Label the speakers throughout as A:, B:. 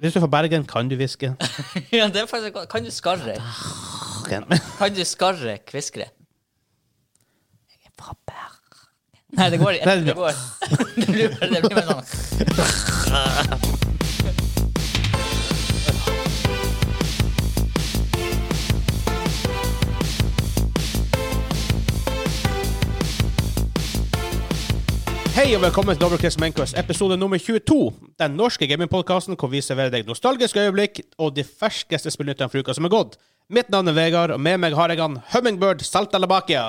A: Hvis du er fra Bergen, kan du hviske.
B: ja, det er faktisk godt. Kan du skarre? Kan du skarre kviskre? Jeg er fra Bergen. Nei, det går ikke. Det går. Det blir, det blir mer sånn
A: Hei og velkommen til Dobbeltkriss Menkøs, episode nummer 22. Den norske gamingpodkasten hvor vi serverer deg nostalgiske øyeblikk og de ferskeste spillnyttene fra uka som er gått. Mitt navn er Vegard, og med meg har jeg han Hummingbird Saltalabakia.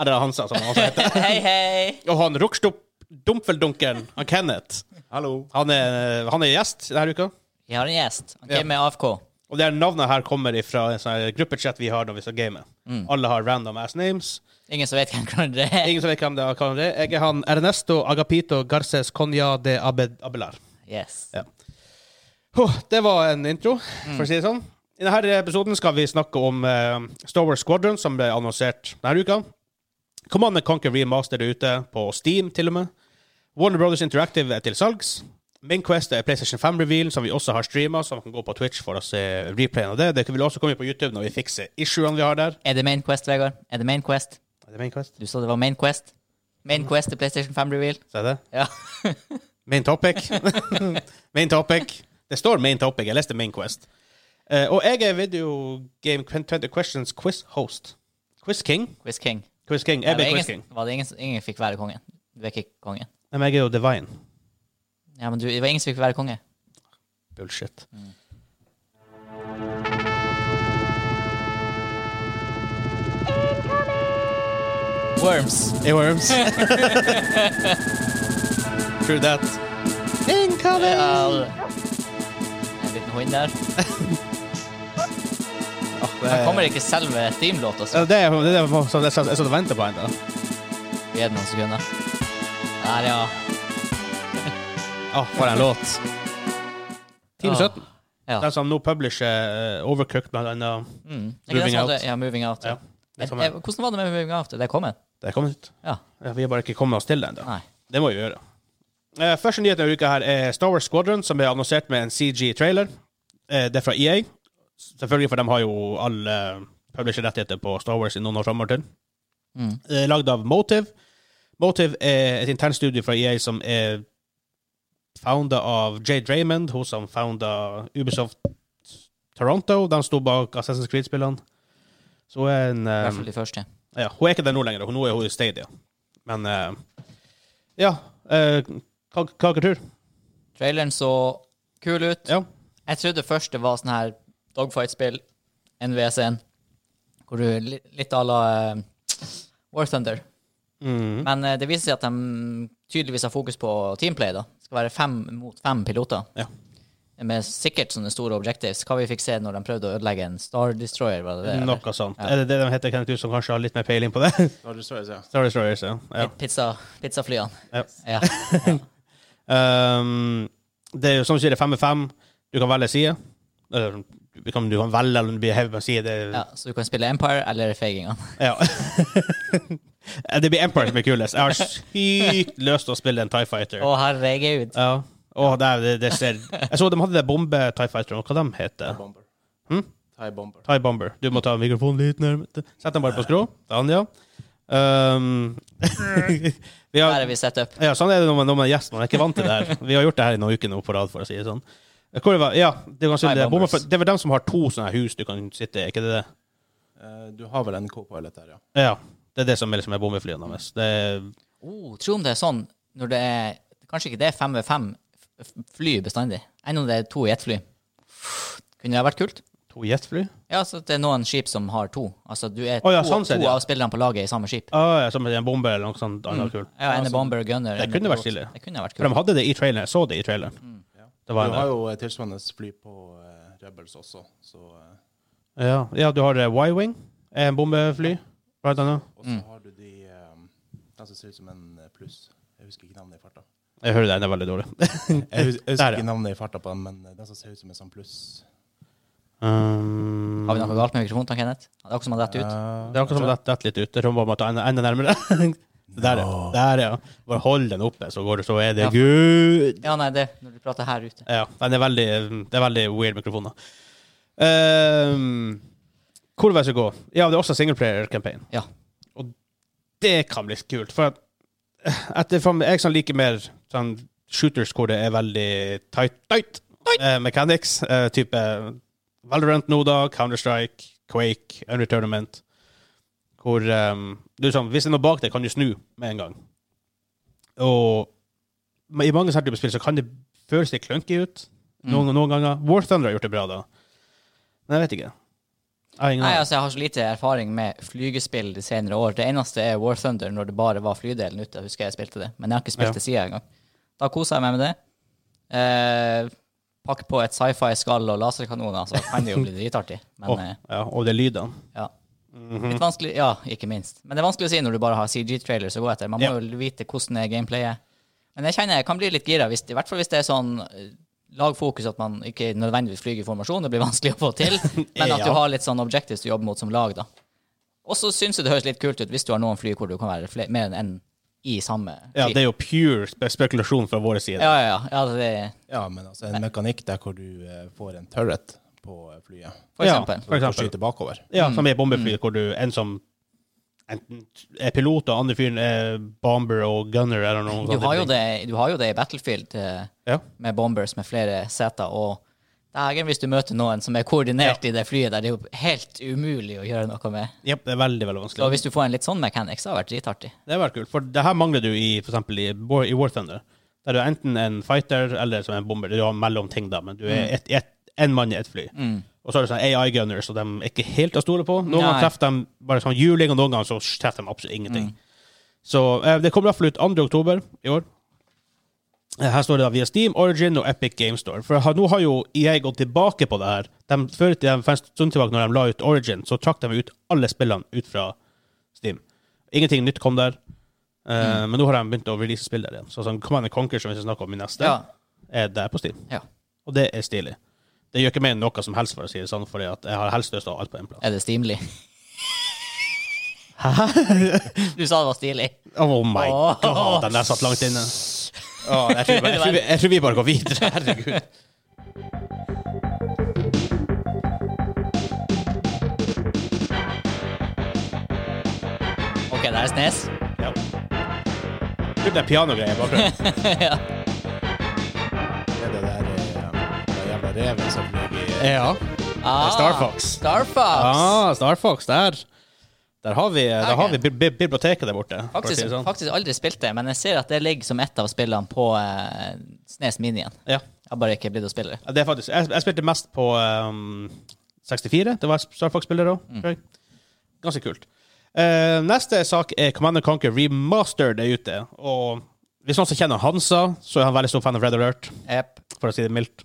A: Eller Hansa, som han også heter.
B: Hei, hei.
A: Og han Rukstup-Dumfeldunkeren, han Kenneth.
C: Hallo.
A: Han er, han er gjest denne uka.
B: Jeg har en gjest. Han
A: Ja.
B: gamer AFK.
A: Og det her navnet her kommer fra en sånn her gruppechat vi har når vi skal game. Alle har random ass names.
B: Ingen som vet hvem hverandre er.
A: Ingen som vet hvem det er. Hvem det er. Jeg er han Ernesto Agapito Garces Conya de Abed Abelar.
B: Yes.
A: Ja. Huh, det var en intro, for å si det sånn. I denne episoden skal vi snakke om eh, Star Wars Squadron, som ble annonsert denne uka. Command Conquer Remastered er ute på Steam, til og med. Warner Brothers Interactive er til salgs. Main Quest er PlayStation 5-revealen, som vi også har streama, så man kan gå på Twitch for å se replayen av det. Det vil også komme på YouTube når vi fikser issuene vi har der.
B: Er det Main Quest, Vegard? Er det Main Quest?
A: Er det Main Quest?
B: Du sa det var Main Quest. Main Quest til PlayStation 5 Reveal.
A: Ser jeg det?
B: Ja.
A: Main topic. main topic. Det står main topic. Jeg leste Main Quest. Eh, og jeg er video game 20 questions quiz host. Quiz king.
B: Quiz King.
A: Quiz king. Jeg
B: Var det
A: blir quiz
B: ingen-
A: king.
B: Var det ingen, som- ingen fikk være kongen? Du er ikke kongen.
A: Nei, Men jeg er jo divine.
B: Ja, men du, det var ingen som fikk være konge.
A: Bullshit.
B: Worms.
A: Airworms. True that. Incoming!
B: Ja, det- En liten hund der.
A: Eh,
B: Da kommer ikke selve Steam-låta. så
A: Ja, det er det er det som jeg satt jeg satt og ventet på ennå.
B: Gi det noen sekunder. Der, ja.
A: Åh, for en låt. Team
B: Ah,
A: 17.
B: ja.
A: Den som nå publisher eh, Overcooked, blant annet.
B: Mm. Er ikke det
A: Moving
B: som
A: Out.
B: hadde- Ja, moving out.
A: Ja,
B: Ja.
A: det
B: Eh,
A: kommer.
B: eh, Hvordan var det med Moving Out? Er det kommet?
A: Det er kommet ut.
B: Ja.
A: Ja, vi har bare ikke kommet oss til det ennå.
B: Nei.
A: Det må vi gjøre. Eh, første nyhet denne uka her er Star Wars Squadron, som ble annonsert med en CG-trailer. Eh, det er fra EA. Selvfølgelig, for de har jo alle publisher-rettigheter på Star Wars i noen år framover til.
B: Mm.
A: Eh, Lagd av Motive. Motive er et internt studio fra EA som er founda av Jade Raymond, hun som founda Ubisoft Toronto. De sto bak Assassin's Creed-spillene. Så hun er en
B: I
A: eh,
B: hvert fall de første.
A: ja, hun er ikke der nå lenger. Hun, nå er hun i Stadia. Men eh, ja eh, hva hva dere tror
B: Traileren så kul ut.
A: Ja.
B: Jeg trodde først det var sånn her dogfight-spill, NVC-en, hvor du li- litt à la eh, War Thunder.
A: Mm.
B: Men eh, det viser seg at de tydeligvis har fokus på teamplay. da. Det skal være fem mot fem piloter.
A: Ja.
B: Med sikkert sånne store objectives. Hva vi fikk se når de prøvde å ødelegge en Star Destroyer, var det det? eller?
A: Noe sånt. Er det det de heter, Kenneth, du som kanskje har litt mer peiling på det?
C: Har du svaret, ja.
A: Star Destroyers, ja. ja.
B: Pi- Pizza, pizzaflyene.
A: Ja.
B: Ja.
A: Um, det er jo som du sier, det er fem med fem. Du kan velge side. Eller, du kan, du kan velge eller bli hevet på en side.
B: ja, Så du kan spille Empire eller Feigingene.
A: Ja. det blir Empire som er kulest. Jeg har sykt lyst til å spille en Tie Fighter.
B: Å, herregud.
A: Ja. Åh, det, er- det, det ser Jeg så de hadde det bombe-Tie Fighter, hva de heter
C: Thai bomber.
A: Hm?
C: Thai bomber.
A: Thai Bomber. Du må ta mikrofonen litt nærmere. Sett den bare på skrå. Den, ja. Um, vi
B: Der
A: har,
B: er vi set up.
A: ja, sånn er det når man, når man er gjest. Man er ikke vant til det her. Vi har gjort det her i noen uker nå på rad, for å si det sånn. Hvor det var, ja, det, var kanskje
B: Thai
A: det, bomber,
B: Bombers.
A: for, det er vel dem som har to sånne her hus du kan sitte i, er ikke det det?
C: Eh, du har vel en co-pilot der, ja.
A: Ja. Det er det som er, liksom, er bombeflyene deres. Det er,
B: Oh, tro om det er sånn når det er Kanskje ikke det er fem ved fem f- fly bestandig. Enn om det er to i ett fly. Kunne det ha vært kult?
A: to jetfly?
B: Ja, så det er noen skip som har to. Altså, du er
A: Å ja,
B: to,
A: sånn sett,
B: to
A: ja.
B: av spillerne på laget i samme skip.
A: Ah, ja, som en bombe eller noe sånt
C: Mm.
A: annet kult.
B: Ja, en er bomber, gunner.
A: Det
B: en er
A: kunne vært
B: pilot.
A: stilig.
B: Det kunne vært
A: For
B: kult.
A: de hadde det i traileren. Jeg så det i traileren. Det
C: Mm. Du
A: var en,
C: har jo eh, tilsvarende fly på eh, Rebels også, så eh,
A: ja. ja, du har eh, Y-Wing, en bombefly, blant annet.
C: Og så har du de eh, Den som ser ut som en eh, pluss. Jeg husker ikke navnet i farta.
A: Jeg hører den er veldig dårlig.
C: Jeg hus- jeg
A: Mm. Der,
C: husker
A: ja.
C: ikke navnet i farta på den, men eh, den som ser ut som en sånn pluss.
A: Um,
B: Har vi
C: Eh,
A: Eh,
B: noe galt med mikrofonen, Kenneth? Det er akkurat som han detter ut.
A: Det er akkurat som om det detter litt ut. Jeg tror man må ta enda, enda nærmere. Der, ja. Der, ja. Bare hold den oppe, så, går det, så er det
B: Ja.
A: Gud.
B: Ja, nei, det når du prater her ute.
A: Ja, men det er veldig, det er veldig weird mikrofon, da. Ehm, hvor vil jeg skal gå? Ja, det er også singleplayer-campaign.
B: Ja.
A: Det kan bli kult, for at, etter, faen meg- jeg som liker mer sånn shooters hvor det er veldig tight, tight, eh, mechanics, eh, type Valorant nå da, Counter-Strike, Quake, Unreal Tournament, hvor ehm, du sånn, hvis det er noe bak deg, kan du snu med en gang. Og men i mange sånne typer spill så kan det føles litt clunky ut.
B: Mm.
A: Noen, noen ganger. War Thunder har gjort det bra, da. Men jeg vet ikke. Jeg har ingen
B: Nei,
A: aning.
B: altså, jeg har så lite erfaring med flygespill de senere år. Det eneste er War Thunder, når det bare var flydelen ute. Jeg husker jeg spilte det, men jeg har ikke spilt
A: Ja.
B: det siden engang. Da koser jeg meg med det. Eh, pakk på et sci-fi-skall og laserkanoner, så kan det jo bli dritartig. Men
A: Åh,
B: eh,
A: ja, og det er lydene.
B: ja.
A: Mhm.
B: Litt vanskelig Ja, ikke minst. Men det er vanskelig å si når du bare har CG-trailers å gå etter. Man må
A: Ja.
B: jo vite hvordan er gameplayet Men jeg kjenner jeg kan bli litt gira, hvis, i hvert fall hvis det er sånn eh, Lag fokus at man ikke nødvendigvis flyger i formasjon, det blir vanskelig å få til. Men at du
A: Ja.
B: har litt sånn objectives du jobber mot som lag, da. Og så syns jeg det høres litt kult ut hvis du har noen fly hvor du kan være fle- mer enn én i samme fly.
A: Ja, det er jo pure spe spekulasjon fra vår side.
B: ja, ja, ja, ja, det er,
C: Ja, men altså en mekanikk der hvor du eh, får en turret på eh, flyet.
B: For
A: Ja,
B: eksempel. Mm.
A: for
C: For
A: eksempel.
C: eksempel. Skyte bakover.
A: Ja, som i bombefly, hvor du en som enten er pilot, og andre fyren er bomber og gunner eller noe
B: Du, har jo det, du har jo det i Battlefield. eh,
A: Ja.
B: med bombers med flere seter. Og dagen hvis du møter noen som er koordinert i det flyet der, det er jo helt umulig å gjøre noe med.
A: Jep, det er veldig, veldig vanskelig.
B: Så hvis du får en litt sånn mechanics, det har vært dritartig.
A: Det hadde vært kult, for det her mangler du i for eksempel i, War- i War Thunder. Der du er enten en fighter eller som en bomber. Du har mellom ting, da, men du er ett- ett- en mann i ett fly. Og så er det sånn AI gunners, og de er ikke helt å stole på. Noen
B: Nei.
A: ganger treffer de bare sånn juling, og noen ganger så treffer de absolutt ingenting. Så eh, det kommer i hvert fall ut 2. oktober i år. Eh, Her står det da via Steam, Origin og Epic Game Store. For ha- nå har jo EA gått tilbake på det her. De, før i tiden, for en stund tilbake, når de la ut Origin, så trakk de ut alle spillene ut fra Steam. Ingenting nytt kom der. Eh,
B: Mm.
A: Men nå har de begynt å release spill der igjen. Så sånn Command Conquer, som vi skal snakke om i neste,
B: Ja.
A: er der på Steam.
B: ja.
A: Og det er stilig. Det gjør ikke meg noe som helst, for å si det sånn, fordi at jeg har helst lyst til å ha alt på én plass.
B: Er det stimelig? Du sa det var stilig.
A: Oh my
B: Åh.
A: god, den der satt langt inne. Åh, jeg, tror, jeg, tror, vi- jeg tror vi bare går videre. Herregud.
B: OK, det er Snes.
A: Ja. Tror Det er pianogreier i bakgrunnen.
C: Det er det der eh, den jævla reven som ligger i
A: Ja.
B: Ah,
A: Star Fox.
B: Star Fox.
A: Ah, Star Fox, der. Der har vi, eh, der har vi bi bi biblioteket der borte. for å si
B: Faktisk,
A: det sånn.
B: faktisk aldri spilt det, men jeg ser at det ligger som ett av spillene på eh, Snes Minien.
A: Ja.
B: Jeg har bare ikke blitt å spille det.
A: Ja, Det er faktisk, jeg, jeg spilte mest på ehm, 64. Det var Star Fox-spiller òg.
B: Mm.
A: Ganske kult. Eh, neste sak er Commander Conquer Remastered er ute. Og hvis noen som kjenner Hansa, så er han veldig stor fan av Red Alert,
B: Yep.
A: for å si det mildt.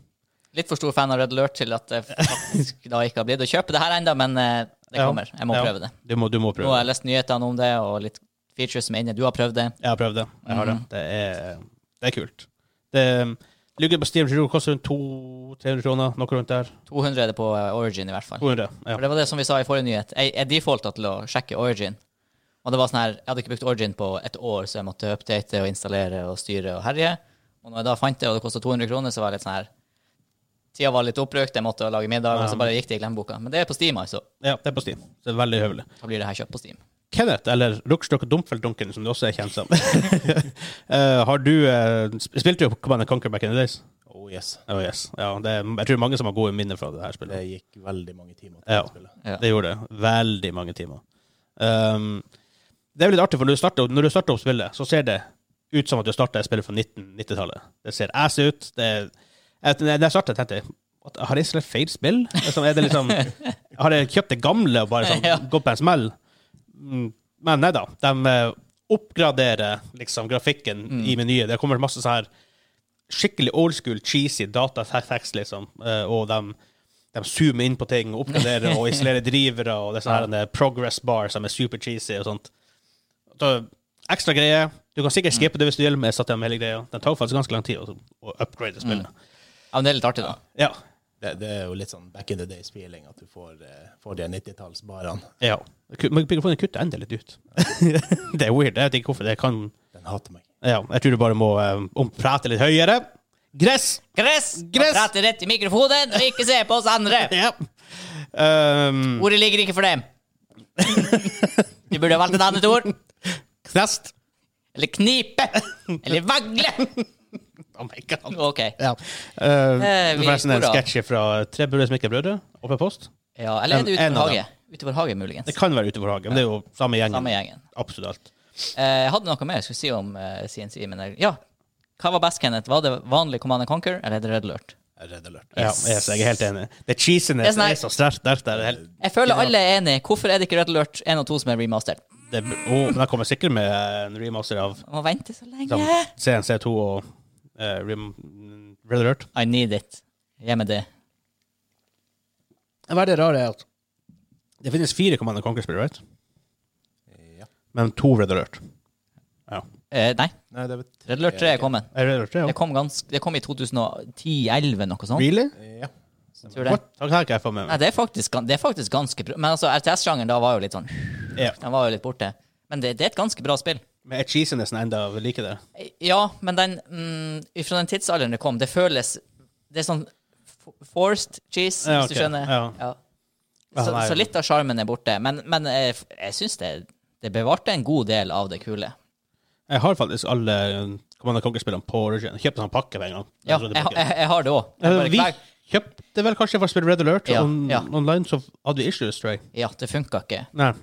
B: litt for stor fan av Red Alert til at jeg faktisk da ikke har blitt å kjøpe det her ennå, men eh, det
A: Ja.
B: kommer. Jeg må
A: Ja.
B: prøve det.
A: Du må, du må
B: Nå har
A: prøve.
B: jeg lest nyhetene om det, og litt features som er inne. Du har prøvd det.
A: Jeg har prøvd det. Jeg har det. Det, er, det er kult. Det ligger på Steam Giro, koster rundt 200-300 kroner, noe rundt der.
B: 200 er det på eh, Origin, i hvert fall.
A: 200, ja.
B: For det var det som vi sa i forrige nyhet. Jeg, jeg defaulta til å sjekke Origin. Og det var sånn her, Jeg hadde ikke brukt Origin på et år, så jeg måtte update og installere og styre og herje. Og når jeg da fant det, og det kosta 200 kroner, så var jeg litt sånn her Tida var litt oppbrukt, jeg måtte lage middag, og så bare gikk det i glemmeboka. Men det er på Steam, altså.
A: ja, det er på Steam. Så det er veldig høvelig.
B: Da blir det her kjøpt på Steam.
A: Kenneth, eller Ruckstock Dumfeldunken, som du også er kjent som. Eh, har du eh, sp- Spilte du Command Conquer back in the days?
C: Oh yes.
A: Oh, yes. ja, det er, jeg tror mange som har gode minner fra det her
C: Det
A: spillet.
C: gikk veldig mange timer til
A: Ja,
C: å spille.
B: Ja.
A: det gjorde det. Veldig mange timer. Um, det er jo litt artig, for når du, starter, opp- når du starter opp spillet, så ser det ut som at du starter et spill fra 1990-tallet. Det ser ass ut. Det er, jeg, når jeg startet, tenkte jeg "What, har jeg spilt feil spill? Liksom, er det liksom, har jeg kjøpt det gamle og bare sånn,
B: Ja.
A: gått på en smell? Mm, Men nei da. De eh, oppgraderer liksom grafikken
B: Mm.
A: i menyen. Det kommer masse sånn her skikkelig old school, cheesy datatekst, liksom. Eh, og de, de zoomer inn på ting, oppgraderer og isolerer drivere, og det er sånn her en progress bar som er super cheesy og sånt. Så, ekstra greier. Du kan sikkert skippe det hvis du gjelder med satt hele greia. Den tar faktisk ganske lang tid å, å upgrade spillet.
B: Ja, men det er litt artig, da.
A: Ja.
C: Det, det er jo litt sånn back in the days-feeling at du får, eh, får de 90-tallsbarene.
A: Ja. Ku- men Mikrofonen kutter endelig litt ut. det er weird. Jeg vet ikke hvorfor det kan
C: Den hater meg.
A: ja, Jeg tror du bare må eh, om- prate litt høyere. Gress!
B: Gress!
A: Gress!
B: Og prate rett i mikrofonen, og ikke se på oss andre!
A: Ja. Um,
B: Mm. Ordet ligger ikke for dem. Du burde ha valgt et annet ord.
A: knest.
B: Eller knipe. Eller vagle.
A: Oh my god.
B: OK.
A: Ja. Uh,
B: Eh,
A: det
B: vi
A: var forresten en
B: går av.
A: sketsj fra Tre brødre som ikke er brødre. Oppe i post.
B: Ja, eller er det
A: En- en
B: utenfor
A: av
B: hage? Utenfor hage, muligens.
A: Det kan være utenfor hagen, men det er jo samme gjengen.
B: Samme gjengen.
A: Absolutt.
B: Eh, Jeg hadde noe mer jeg skulle si om eh, CNC, men jeg, ja. Hva var best, Kenneth? Var det vanlig Command and Conquer, eller er det Red Alert?
C: Jeg er Redd alert.
A: Ja, yes, jeg er helt enig. Det cheesiness
B: Det er sånn her-
A: er så sterkt der. Det er helt
B: Jeg føler alle er enige. Hvorfor er det ikke Red Alert 1 og 2 som er remastered?
A: det, oh, men jeg kommer sikkert med en remaster av liksom,
B: Man må vente så lenge.
A: som CNC2 og eh, rem, Red Alert.
B: I need it. Gi meg det.
A: Hva er det rare er at det finnes fire Command Conquer-spillere, right?
C: Ja.
A: men to Red Alert. Ja.
B: Eh, nei,
C: Nei, det er vel
B: Red Alert
A: Eh,
B: 3 er kommet.
A: Er Red Alert det,
B: Det
A: ja?
B: kom, ganske, det kom i 2010-2011, noe sånt.
A: Really?
C: Ja.
B: Tror det.
A: What? Det har ikke jeg fått med
B: Nei,
A: meg.
B: det er faktisk, gan- det er faktisk ganske bra. Men altså, RTS-sjangeren da var jo litt sånn
A: Ja.
B: Den var jo litt borte. Men det, det er et ganske bra spill.
A: Men er cheesinessen enda ved like det?
B: Ja, men den mm, Fra den tidsalderen det kom, det føles Det er sånn f- forced cheese,
A: Ja,
B: hvis du
A: ok,
B: skjønner.
A: ja. Ja,
B: Så,
A: nei.
B: så litt av sjarmen er borte. Men, men jeg, f- jeg syns det, det bevarte en god del av det kule.
A: Jeg har faktisk alle eh, Command Conquer-spillene på Origin. Jeg Kjøpte en sånn pakke med en gang. Jeg
B: Ja, jeg,
A: trodde
B: ha-
A: pakken-
B: jeg, jeg har det òg.
A: Eh, Vi kjøpte vel kanskje for å spille Red Alert
B: Ja,
A: on,
B: ja.
A: online, så hadde vi issues, tror jeg.
B: Ja, det funka ikke,
A: Nei.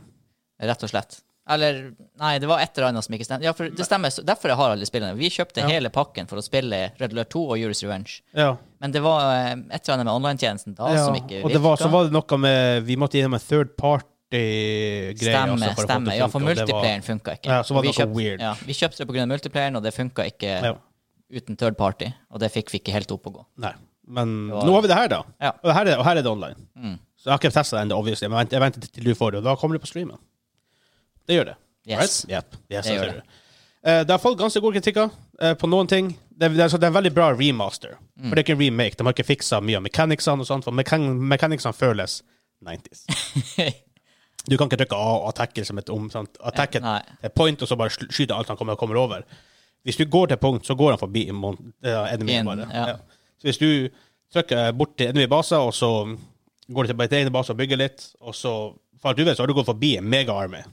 B: rett og slett. Eller Nei, det var et eller annet som ikke stemte. Ja, for det stemmer. så- Derfor jeg har alle spillene. Vi kjøpte
A: Ja.
B: hele pakken for å spille Red Alert 2 og Juris Revenge.
A: Ja.
B: Men det var eh, et eller annet med online-tjenesten da
A: ja.
B: som ikke
A: og det var, så
B: virket.
A: var det noe med Vi måtte gjennom en third party-greie.
B: Stemme,
A: altså, for å få det
B: stemme.
A: til å
B: Ja,
A: funke,
B: for
A: og det var-
B: multiplayeren funka ikke.
A: Ja, så var det
B: Vi
A: noe weird.
B: Ja, vi kjøpte det pga. multiplayeren, og det funka ikke
A: Ja.
B: uten third party. Og det fikk vi ikke helt opp å gå.
A: Nei. Men
B: Det var-
A: nå har vi det her, da.
B: Ja.
A: Og, her er, og her er det online.
B: Mm.
A: Så jeg har ikke testa det ennå, obviously, men jeg venter- jeg venter til du får det. Og da kommer det på streamen. Det gjør det.
B: Yes.
A: Right? Yep. Yes,
B: Det
A: jeg
B: gjør
A: ser
B: det.
A: Eh, det har fått ganske gode kritikker eh, på noen ting. Det, det, er- så det er en veldig bra remaster.
B: Mm.
A: For det er ikke en remake. De har ikke fiksa mye av mechanicsene og sånt, for mechan mechanicsene føles 90s. Du kan ikke trykke A og attacker som et om, sant? Attack et
B: Nei.
A: et point, og så bare sl- skyter alt han kommer, kommer over. Hvis du går til punkt, så går han forbi mon- eh, enemyen
B: Fienden,
A: bare.
B: ja.
A: Ja. Så hvis du trykker bort til enemy base, og så går du til ditt eget base og bygger litt, og så for alt du vet, så har du gått forbi en mega-army.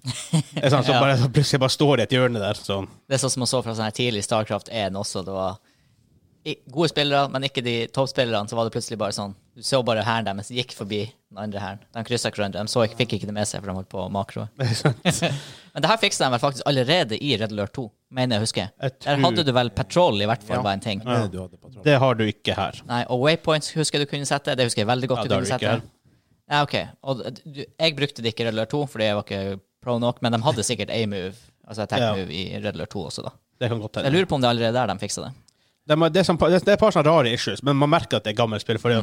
A: Det er sånn, så,
B: Ja.
A: bare, så plutselig bare står det i et hjørne der. Så.
B: Det er sånn som man så fra sånn her tidlig Starcraft 1 også. Det var i- gode spillere, men ikke de toppspillerne. Så var det plutselig bare sånn Du så bare hæren deres gikk forbi den andre hæren. De kryssa ikke hverandre. De så ikke, fikk ikke det med seg, for de holdt på makro. men det her fiksa de vel faktisk allerede i Red Alert 2, mener jeg å huske.
A: Jeg
B: Der
A: tror-
B: hadde du vel patrol, i hvert fall,
C: Ja.
B: var en ting.
C: Det er det du hadde på tråden.
A: Det har du ikke her.
B: Nei, og waypoints husker jeg du kunne sette. Det husker jeg veldig godt
A: Ja,
B: du
A: det har
B: kunne
A: du ikke
B: sette. Ja, ok. Og d- du, jeg brukte det ikke i Red Alert 2, fordi jeg var ikke pro nok, men de hadde sikkert A-move, altså attack
A: Ja.
B: move, i Red Alert 2 også, da.
A: Det kan godt
B: Jeg
A: hende.
B: lurer på om det er allerede der de fiksa det.
A: Det er, det, er sånn, det er et par sånne rare issues, men man merker at det er gammelt spill. Fordi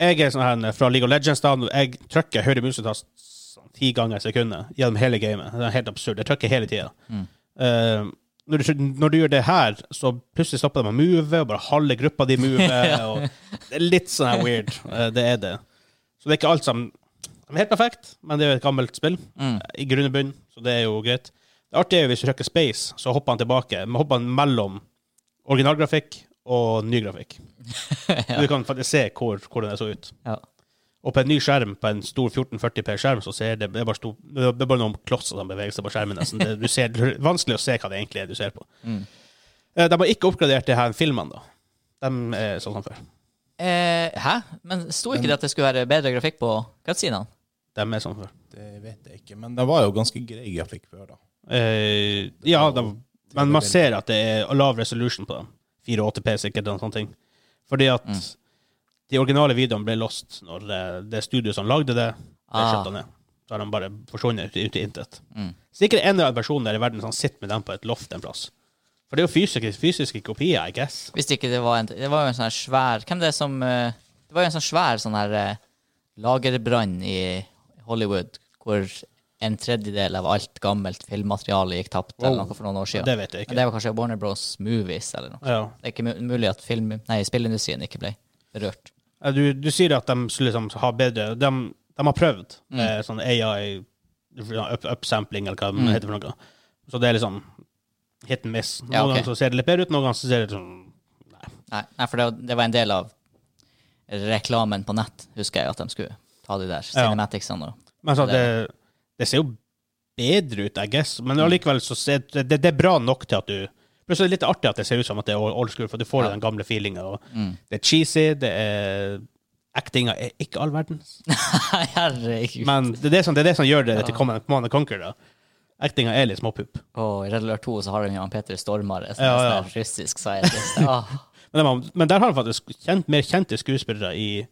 A: at jeg er sånn her fra League of Legends, da, når jeg trykker høyre musetast sånn, ti ganger i sekundet gjennom hele gamet. Det er helt absurd. Jeg trykker hele tida. når, du, når du gjør det her, så plutselig stopper de å move, og bare halve gruppa di move. og det er litt sånn her weird. Eh, det er det. Så det er ikke alt som som er helt perfekt, men det er jo et gammelt spill
B: Mm.
A: i grunn og bunn, så det er jo greit. Det artige er jo hvis du trykker space, så hopper han tilbake. Men hopper han mellom originalgrafikk og ny grafikk. Så Du kan faktisk se hvor, hvordan det så ut.
B: Ja.
A: Og på en ny skjerm, på en stor 1440P-skjerm, så ser det, det, er bare stor, det er bare noen klosser som beveger seg på skjermen. nesten. Det, du ser, det er vanskelig å se hva det egentlig er du ser på.
B: Mm.
A: Eh, De har ikke oppgradert det her filmene, da. De er sånn som før.
B: Eh, hæ? Men sto ikke det at det skulle være bedre grafikk på cutscenene?
A: De er sånn som før.
C: Det vet jeg ikke, men det var jo ganske grei grafikk før, da.
A: Eh, ja, de, men man ser at det er lav resolution på dem. 480P sikkert, og sånne ting. Fordi at
B: Mm.
A: de originale videoene ble lost når eh, det studioet som lagde det, ble
B: Ah.
A: kjøpt ned. Så har de bare forsvunnet ut i intet.
B: Mm.
A: Sikkert en eller annen person der i verden som sitter med dem på et loft en plass. For det er jo fysiske, fysiske kopier, I guess.
B: Hvis ikke det var en Det var jo en sånn her svær Hvem det er som eh, Det var jo en sånn svær sånn her eh, lagerbrann i Hollywood, hvor en tredjedel av alt gammelt filmmateriale gikk tapt, eller
A: Wow.
B: noe for noen år siden.
A: Det vet jeg
B: Men
A: ikke.
B: det var kanskje Warner Bros. Movies eller noe.
A: Ja.
B: Det er ikke mu- mulig at film, nei, spillindustrien ikke ble rørt.
A: Eh, Du, du sier at de skulle liksom ha bedre De, de har prøvd
B: Mm.
A: eh, sånn AI up, upsampling, eller hva det
B: Mm.
A: heter for noe. Så det er liksom hit and miss. Noen
B: Ja, ok.
A: ganger så ser det litt bedre ut, noen ganger så ser det sånn
B: Nei, nei for det, var- det var en del av reklamen på nett, husker jeg, at de skulle ta de der cinematicsene. og-
A: Men altså,
B: Det- Mm.
A: det, det ser jo bedre ut, I guess. Men allikevel så ser det, det, det er bra nok til at du Pluss er det litt artig at det ser ut som at det er old school, for du får
B: Ja.
A: den gamle feelinga.
B: Mm.
A: Det er cheesy, det er Actinga er ikke all verdens.
B: Nei, herregud.
A: Men det er det som, det er det som gjør det til
B: Ja.
A: Command Command and Conquer. da. Actinga er litt småpupp.
B: Og i Red Alert 2 så har de jo han Peter Stormare, som
A: Ja,
B: er
A: ja.
B: sånn her russisk scientist. Åh.
A: Men, de har- men der har de faktisk kjent, mer kjente skuespillere i,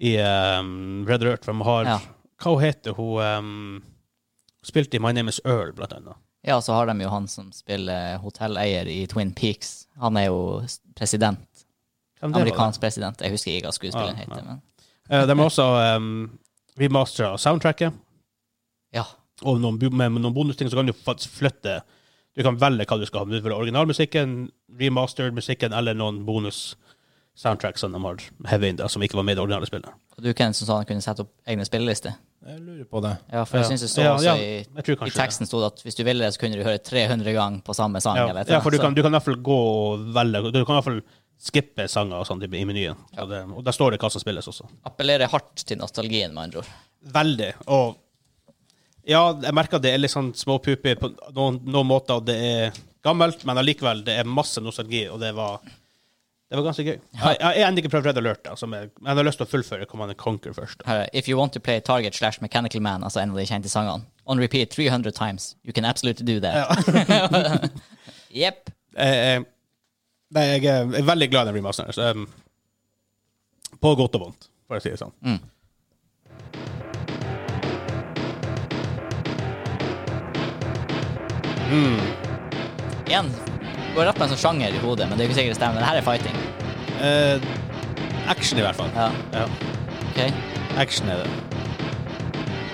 A: i um, Red Alert. For de har
B: Ja.
A: Hva hun heter hun um, Spilte i My Name Is Earl, blant annet.
B: Ja, og så har de jo han som spiller hotelleier i Twin Peaks. Han er jo s- president.
A: Hvem det var, da?
B: Amerikansk president. Jeg husker ikke hva skuespilleren
A: Ja,
B: heter,
A: ja.
B: men
A: Eh, De har også um, remastera soundtracket,
B: ja.
A: og noen, bu- med noen bonusting så kan du faktisk flytte Du kan velge hva du skal ha. Om du vil ha originalmusikken, remastered musikken eller noen bonus soundtrack som de har hevet inn der, som ikke var med i det originale spillet.
B: Og du Ken, som sa han kunne sette opp egne spillelister.
C: Jeg lurer på det.
B: Ja, for jeg synes det står
A: Ja,
B: også
A: ja,
B: i,
A: jeg tror
B: i
A: kanskje
B: teksten stod at hvis du ville det, så kunne du høre 300 ganger på samme sang.
A: Ja,
B: eller et
A: ja
B: eller
A: for du
B: annet,
A: kan, du kan i hvert fall gå og velge Du kan i hvert fall skippe sanger og sånt i i menyen. Og, det, og der står det hva som spilles også.
B: så appellerer hardt til nostalgien, med andre ord.
A: Veldig. Og ja, jeg merker det er litt sånn småpupi på noen, noen måter, og det er gammelt, men allikevel, det er masse nostalgi, og det var det var ganske gøy. Jeg jeg har ennå ikke prøvd Red Alert, da, som jeg, men jeg har lyst til å fullføre Command Conquer først. da.
B: Her er If you want to play Target slash Mechanical Man, altså en av de kjente sangene, on repeat 300 times, you can absolutely do that. Jepp.
A: Jeg, jeg, nei, jeg er- jeg er veldig glad i den remasteren. Så, um, på godt og vondt, for å si det sånn.
B: Igjen, går rett på en sånn sjanger i hodet, men det er jo ikke sikkert det stemmer. Det her er fighting.
A: Eh, action, i hvert fall.
B: Ja.
A: Ja,
B: Ok?
A: action er det.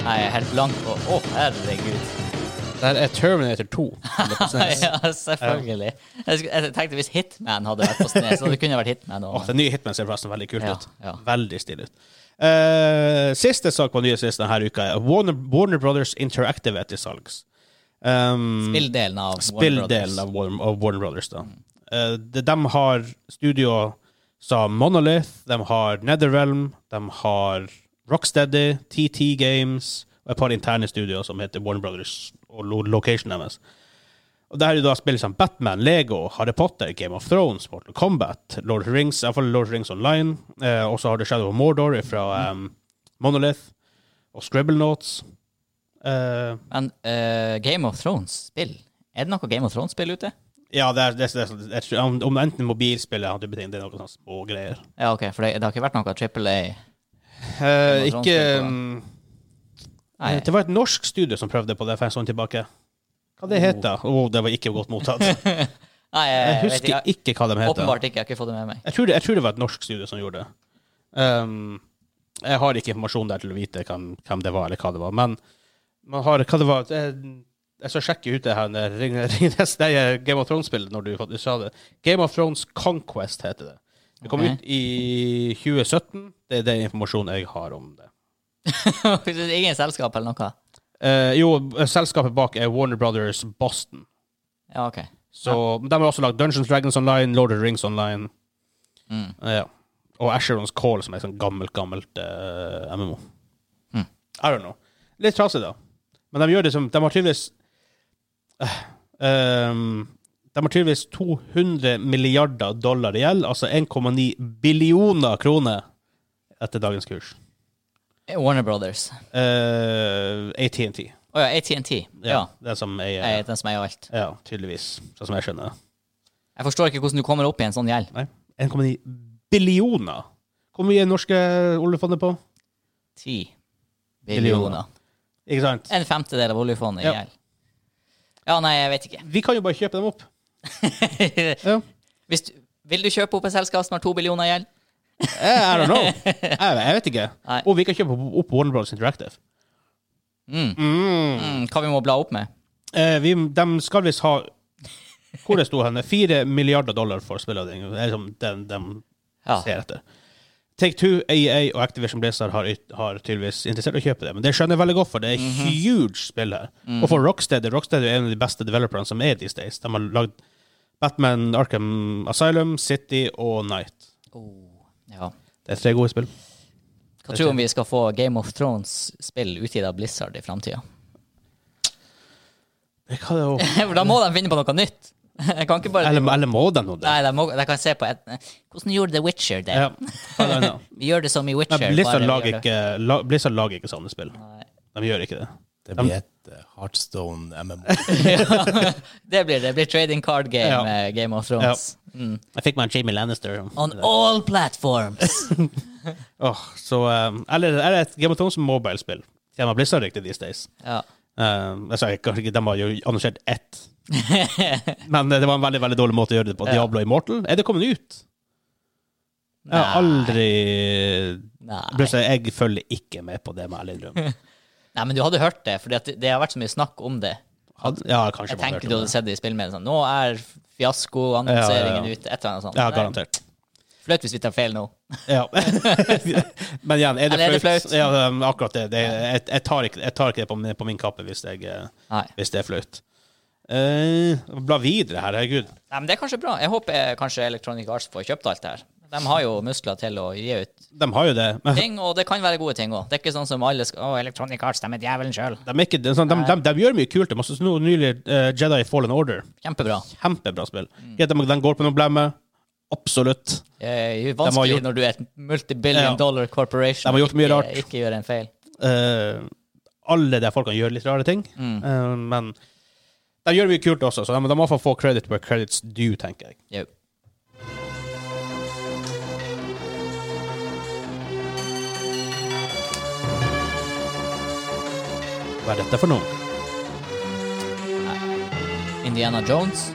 B: Nei, jeg er helt blank på. Å, herregud.
A: Dette er eh, Terminator 2.
B: ja, selvfølgelig. Jeg, skulle, jeg tenkte hvis Hitman hadde vært på snes, så det kunne vært Hitman
A: Åh,
B: også.
A: den nye Hitman ser forresten veldig kult
B: Ja,
A: ut.
B: ja.
A: Veldig stilig ut. Eh, siste sak på nye siste denne uka er Warner, Warner Brothers Interactive er til salgs. Um,
B: Spilldelen av Warner Brothers.
A: Spilldelen av, Warner- av Warner Brothers, da. Eh, de, de har studio som Monolith, de har Netherrealm, de har Rocksteady, TT Games og et par interne studioer som heter Warner Brothers og lo location deres. Og der er det da spill som Batman, Lego, Harry Potter, Game of Thrones, Mortal Kombat, Lord of the Rings, i hvert fall Lord of the Rings Online, eh, og så har du Shadow of Mordor fra Monolith, og Scribble Notes. Eh,
B: Men eh, Game of Thrones-spill? Er det noe Game of Thrones-spill ute?
A: Ja, det er, det er, det er, jeg tror- om, om det er enten mobilspill eller andre ting, det sånn er noen sånne små greier.
B: Ja, ok, for det, det har ikke vært noe Triple A.
A: Eh,
B: Amazon
A: ikke
B: sånn spill på det.
A: mm,
B: Nei,
A: Det var et norsk studio som prøvde på det for en stund tilbake. Hva det het da? Å, det var ikke godt mottatt. Jeg
B: Nei jeg, vet
A: husker
B: ikke. Jeg,
A: ikke hva de het. da.
B: åpenbart ikke. Jeg har ikke fått det med meg.
A: Jeg tror, det, jeg tror det var et norsk studio som gjorde det. Ehm, jeg har ikke informasjon der til å vite hvem, hvem det var, eller hva det var. Men man har hva det var Jeg, jeg skal sjekke ut det her når jeg ringer, ringer neste- det er Game of Thrones-spillet når du faktisk sa det. Game of Thrones Conquest heter det. Det kom
B: Ok.
A: ut i 2017. Det er den informasjonen jeg har om det.
B: Ingen selskap eller noe?
A: Eh, jo, selskapet bak er Warner Brothers Boston.
B: Ja, ok.
A: Så De har også lagd Dungeons Dragons Online, Lord of the Rings Online. Eh,
B: Mm.
A: Ja. Og Asherons Call, som er et sånt gammelt, gammelt eh, MMO.
B: Mm.
A: I don't know. Litt trasig, da. Men de gjør det som De har tydeligvis eh, ehm, De har tydeligvis 200 milliarder dollar i gjeld, altså 1,9 billioner kroner etter dagens kurs.
B: Warner Brothers.
A: Uh, ATNT.
B: Å ja, ATNT.
A: Ja,
B: Ja.
A: Det som er
B: Jeg er den som eier alt.
A: Ja, tydeligvis. Sånn som jeg skjønner det.
B: Jeg forstår ikke hvordan du kommer opp i en sånn gjeld.
A: Nei. 1,9 billioner. Hvor mye er norske oljefondet på?
B: Ti
A: Billioner.
B: billioner.
A: Ikke sant?
B: En femtedel av oljefondet i
A: Ja.
B: gjeld. Ja, nei, jeg vet
A: Vi kan jo bare kjøpe dem opp.
B: ikke.
A: Ja.
B: Hvis du, vil du kjøpe opp et selskap som har to billioner i gjeld?
A: Eh, I don't know. Jeg, jeg vet ikke.
B: Nei.
A: Og vi kan kjøpe opp Warner Bros. Interactive.
B: Mm.
A: Mm.
B: Mm, hva vi må bla opp med?
A: Eh, vi, de skal visst ha Hvor det liksom sto hen? 4 milliarder dollar for spillet. Det er som den de
B: Ja.
A: ser etter. Take Two, AA og Activision Blizzard har, yt- har tydeligvis interessert å kjøpe det. Men det skjønner jeg veldig godt, for det er
B: Mhm.
A: huge spill her. Og for Rocksteady Rocksteady er en av de beste developerne som er these days. De har lagd Batman, Arkham Asylum, City og Night.
B: Oh, ja.
A: Det er tre gode spill.
B: Hva tror du om vi skal få Game of Thrones-spill utgitt av Blizzard i framtida?
A: Det kan jo
B: For da må de finne på noe nytt! Jeg kan ikke bare
A: Eller, eller må de nå det?
B: Nei, de, må, de kan se på et, Hvordan gjorde The Witcher det?
A: Ja. Hva er det nå?
B: Vi gjør det som i Witcher.
A: Nei, Blizzard,
B: bare vi
A: lager
B: gjør det-
A: ikke, la, Blizzard lager ikke sånne spill.
B: Nei.
A: De gjør ikke det.
C: Det blir et eh, Heartstone MMO.
B: Det blir det. det blir trading card game,
A: Ja.
B: eh, Game of Thrones. Mm.
A: Jeg fikk meg en Jamie Lannister.
B: On all platforms!
A: Åh, så, eh, eller, eller et Game of Thrones mobile-spill. De har Blizzard riktig these days.
B: Ja.
A: Eh, jeg sa ikke- kanskje ikke, De har jo annonsert ett. Men eh, det var en veldig veldig dårlig måte å gjøre det på.
B: Ja.
A: Diablo Immortal, er det kommet ut? Jeg har aldri
B: Nei.
A: Blizzard, Jeg følger ikke med på det, må jeg ærlig innrømme.
B: Nei, men du hadde hørt det, for det, det har vært så mye snakk om det.
A: Hadde- Ja, kanskje man
B: Jeg
A: har
B: tenker
A: hørt om
B: du hadde
A: det.
B: sett det i spillmeldingen sånn Nå er
A: Ja, ja,
B: fiaskoannonseringen
A: ja.
B: ute, et eller annet sånt.
A: Ja,
B: Nei,
A: garantert.
B: Flaut hvis vi tar feil nå.
A: Ja. Men igjen, er det,
B: Eller er det
A: flaut?
B: flaut?
A: Ja, um, akkurat det. det jeg, jeg, tar ikke, jeg tar ikke det på min, på min kappe hvis, jeg, eh,
B: Nei.
A: hvis det er flaut. Eh, bla videre her, herregud.
B: Nei, men det er kanskje bra. Jeg håper eh, kanskje Electronic Arts får kjøpt alt det her. De har jo muskler til å gi ut
A: De har jo det. Men
B: ting, og det kan være gode ting òg. Det er ikke sånn som alle skal Å, Electronic Arts, de er djevelen sjøl.
A: de, er ikke, det er sånn, de, de, de gjør mye kult. De har sånn noe nylig eh, Jedi Fallen Order.
B: Kjempebra.
A: Kjempebra spill. Greit, De, de går på noen blemmer. Absolutt.
B: Eh, Det er jo
A: De har
B: vanskelig
A: gjort-
B: når du er et multibillion
A: Ja.
B: dollar corporation.
A: De har gjort mye
B: Ikke-
A: rart.
B: Ikke gjør en feil.
A: Eh, alle de folkene gjør litt rare ting. Eh, men de gjør mye kult også, så de, de må i hvert fall få credit where credit's due, tenker jeg.
B: Jo.
A: Hva er dette for noe?
B: Indiana Jones?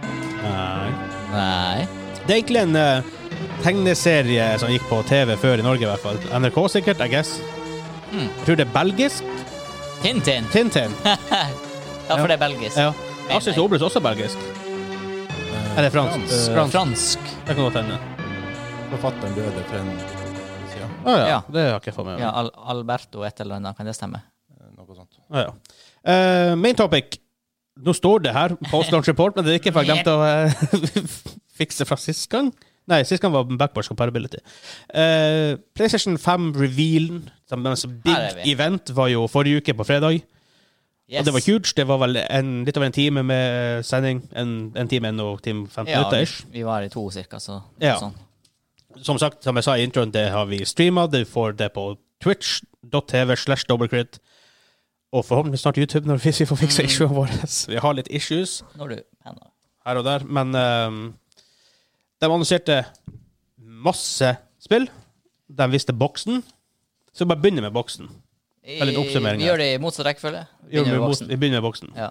A: Nei.
B: Nei.
A: Det er egentlig en eh, tegneserie som gikk på TV før i Norge, i hvert fall. NRK sikkert, I guess. Jeg tror det er belgisk.
B: Tintin?
A: Tintin.
B: Ja,
A: Ja.
B: for det er belgisk.
A: ja. Astrid Obelus også belgisk. Eller fransk.
C: fransk.
A: Eh,
B: Fransk. Fransk.
A: Det kan godt hende.
C: Forfatteren døde for en siden.
A: Å ja.
B: Ja.
A: Det har jeg ikke fått med meg.
B: Ja, Al Alberto et eller annet, kan det stemme?
C: Eh, Noe sånt.
A: Å, ja. Eh, main topic. Nå står det her, post launch report, men det er ikke for jeg glemte å eh, fikse fra sist gang. Nei, sist gang var backwards compatibility. Eh, PlayStation 5 revealen, som er en sånn
B: Her er
A: big
B: vi.
A: event, var jo forrige uke på fredag.
B: Yes.
A: Og det var huge. Det var vel en, litt over en time med sending. En, en time og time 15
B: Ja,
A: minutter ish.
B: vi var i to cirka, så
A: Ja.
B: sånn.
A: Som sagt, som jeg sa i introen, det har vi streama. Du får det på twitch.tv slash dobbeltcrit. Og forhåpentligvis snart YouTube, når vi får fiksa issuene våre. Vi har litt issues
B: Når du penner.
A: her og der, men ehm, de annonserte masse spill. De viste boksen. Så bare begynner med boksen. er litt oppsummering
B: Vi
A: her.
B: gjør det i motsatt rekkefølge.
A: Vi
B: Begynner med
A: begynner,
B: voksen.
A: vi begynner med boksen.
B: Ja.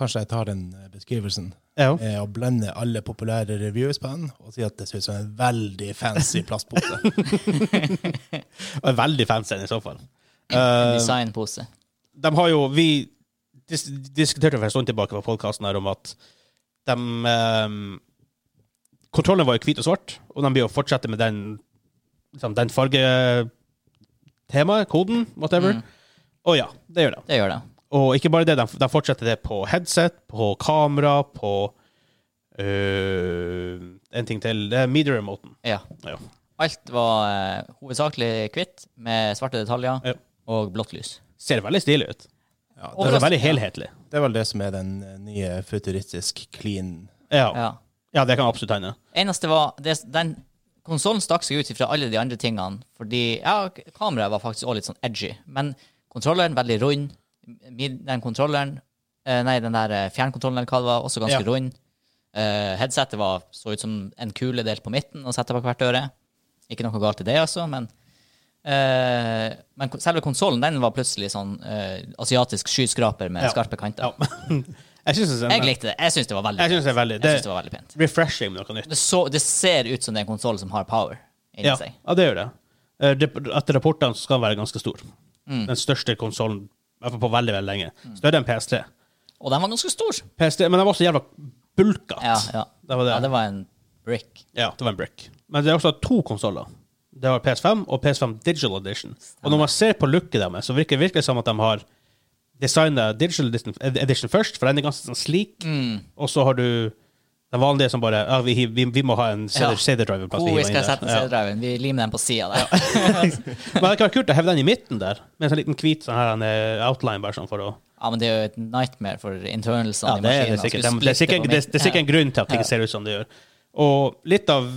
C: Kanskje jeg tar den eh, beskrivelsen.
A: Ja.
C: eh, å blande alle populære reviews på den og si at det ser ut som en veldig fancy plastpose.
A: Og er veldig fancy i så fall. Eh,
B: En designpose.
A: de har jo Vi dis diskuterte for en stund tilbake på podkasten her om at de um, Kontrollen var jo hvit og svart, og de blir jo fortsette med den, liksom, den fargetemaet, koden, whatever.
B: Mm.
A: Og ja, det gjør de.
B: Det gjør det.
A: Og ikke bare det, de, de fortsetter det på headset, på kamera, på øh, En ting til. Det er media-remoten.
B: Ja.
A: Ja.
B: Alt var eh, hovedsakelig hvitt, med svarte detaljer
A: Ja.
B: og blått lys.
A: Ser veldig stilig ut.
C: Ja,
A: Det
C: det,
A: er veldig helhetlig.
C: det er vel det som er den eh, nye futuristisk clean
A: Ja,
B: Ja.
A: ja det kan absolutt hende.
B: Eneste var det, Den konsollen stakk seg ut fra alle de andre tingene, fordi ja, k- kameraet var faktisk også litt sånn edgy, men kontrolleren veldig rund. Mid- Den kontrolleren eh, Nei, den der eh, fjernkontrollen eller hva det var, også ganske
A: Ja.
B: rund. Eh, headsetet var, så ut som en kule delt på midten og satt på hvert øre. Ikke noe galt i det, altså, men eh, Men kon- selve konsollen, den var plutselig sånn eh, asiatisk skyskraper med
A: Ja.
B: skarpe kanter.
A: Ja. jeg syns det,
B: Jeg likte det. Jeg syns det var veldig
A: jeg synes det er veldig
B: Jeg
A: det,
B: synes det var veldig pent.
A: refreshing med noe nytt.
B: Det, så, det ser ut som det er en konsoll som har power inni
A: Ja,
B: seg.
A: ja, det gjør det. Eh, rep- Etter rapportene så skal den være ganske stor.
B: Mm.
A: Den største konsollen på veldig veldig lenge. Større enn PS3.
B: Og den var ganske stor.
A: PS3 men den var så jævla bulkete.
B: Ja, ja.
A: Det var det.
B: Ja, det var en brick.
A: Ja, det var en brick. Men det er også to konsoller. Det var PS5 og PS5 Digital Edition. Og når man ser på looket deres, så virker det virkelig som at de har designa Digital Edition- Edition først, for den er ganske sånn slik.
B: Mm.
A: Og så har du den vanlige som bare ja, vi, hiv- vi, vi må ha en
B: Ja.
A: CD-driver-plass.
B: Hvor vi skal sette CD-driven? Vi limer den på sida der.
A: Men det kan være kult å heve den i midten der, med en sånn liten hvit sånn her, en eh, outline. bare sånn for å...
B: Ja, men det er jo et nightmare for internalsene
A: Ja,
B: i
A: det er
B: maskinen. altså.
A: det sikkert. Det,
B: Skulle
A: det, er
B: splitte
A: sikkert,
B: på
A: det, det er sikkert
B: midten.
A: en grunn til at det ikke ser ut som det gjør. Og litt av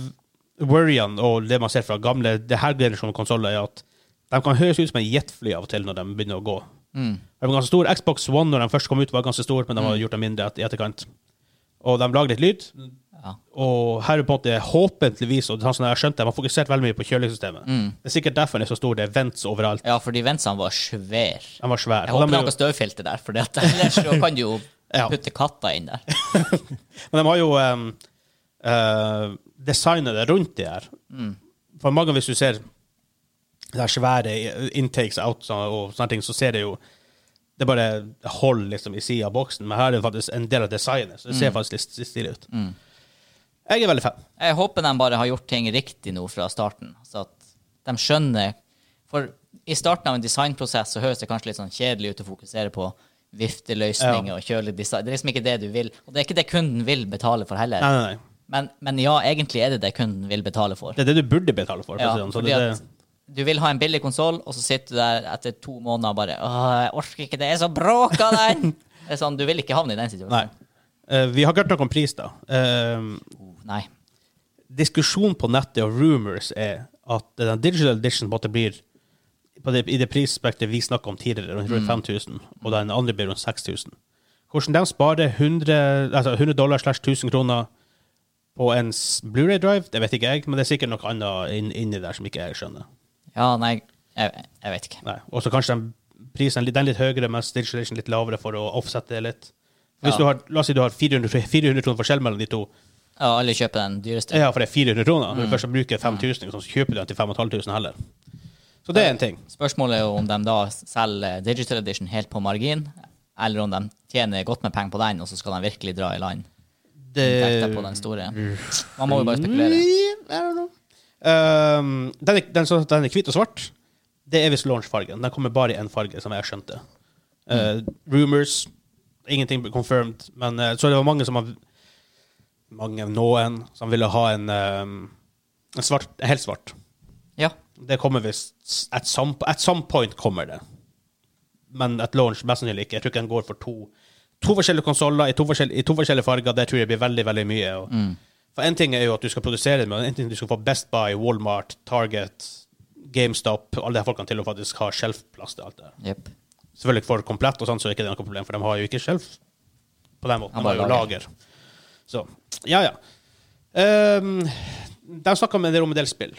A: worryene og det man ser fra gamle det her generasjonen konsoller, er at de kan høres ut som en jetfly av og til når de begynner å gå.
B: Mm.
A: De var ganske stor. Xbox One når de først kom ut, var ganske stor, men de har gjort dem mindre et- i etterkant. Og de lager litt lyd.
B: Ja.
A: Og her er på en måte håpentligvis, og sånn som jeg har skjønt det, man fokusert veldig mye på kjølesystemet.
B: Mm.
A: Det er sikkert derfor den er så stor. Det er vents overalt.
B: ja, for de ventsene var svære.
A: Den var svær.
B: Jeg
A: Og
B: håper
A: de
B: det
A: er
B: er
A: jo-
B: noe støvfilter der, for ellers så kan du jo
A: Ja.
B: putte katta inn der.
A: Men de har jo um, eh, designet det rundt det her.
B: Mm.
A: For mange, hvis du ser det her svære intakes out så- og sånne ting, så ser det jo det er bare hold liksom i sida av boksen, men her er det faktisk en del av designet, så det
B: Mm.
A: ser faktisk litt, litt stilig ut. Jeg er veldig fan.
B: Jeg håper de bare har gjort ting riktig nå fra starten, så at de skjønner For i starten av en designprosess så høres det kanskje litt sånn kjedelig ut å fokusere på vifteløsninger
A: Ja.
B: og kjølig design. Det er liksom ikke det du vil, og det er ikke det kunden vil betale for heller.
A: Nei, nei, nei.
B: Men, men ja, egentlig er det det kunden vil betale for.
A: Det er det du burde betale for. for å si
B: Ja,
A: det sånn. så
B: fordi
A: det,
B: at du vil ha en billig konsoll, og så sitter du der etter to måneder og bare Åh, jeg orker ikke, det er så bråka den! Det er sånn, Du vil ikke havne i den
A: nei.
B: situasjonen.
A: Eh, vi har ikke hørt noe om pris, da. Eh,
B: Nei.
A: diskusjon på nettet og rumors er at den digital edition på en måte blir på det, i det prisspektet vi snakket om tidligere, rundt 5000, og den andre blir rundt 6000. Hvordan de sparer 100, altså 100 dollar slash 1000 kroner på en s- Blu-ray-drive, det vet ikke jeg, men det er sikkert noe annet inn, inni der som ikke jeg skjønner.
B: Ja, nei, jeg, jeg vet ikke.
A: Nei. Og så kanskje den prisen litt- den er litt høyere, mens digital edition litt lavere for å offsette det litt. Hvis
B: Ja.
A: du har, la oss si du har 400, 400 kroner forskjell mellom de to,
B: Ja, alle kjøper den dyreste.
A: Ja, for det er 400 kroner. Når du først bruker 5000, så kjøper du den til 5500 heller. Så det er en ting.
B: Spørsmålet er jo om de da selger digital edition helt på margin, eller om de tjener godt med penger på den, og så skal de virkelig dra i land. Inntekter på den store. Man må jo bare spekulere.
A: Um, den, er, den, som- den er hvit og svart. Det er visst launchfargen. Den kommer bare i én farge, som jeg skjønte. Uh, rumors. Ingenting ble confirmed. Men uh, så det var mange som har Mange, noen, som ville ha en, um, en svart, helt svart.
B: Ja.
A: Det kommer visst at some, at some point kommer det. Men at launch mest sannsynlig ikke. Jeg tror ikke den går for to, to forskjellige konsoller i, to forskjell- i to forskjellige farger. Det tror jeg blir veldig, veldig mye. Og, For en ting er jo at du skal produsere det, men en ting er at du skal få Best Buy, Walmart, Target, GameStop, alle de her folkene til å faktisk ha shelfplass til alt det der.
B: Jepp.
A: Selvfølgelig for komplett og sånn, så er ikke det noe problem, for de har jo ikke shelf på den måten.
B: Han
A: De har jo
B: bare
A: lager. Så, ja, ja. Ehm, de snakker om en del om en del spill.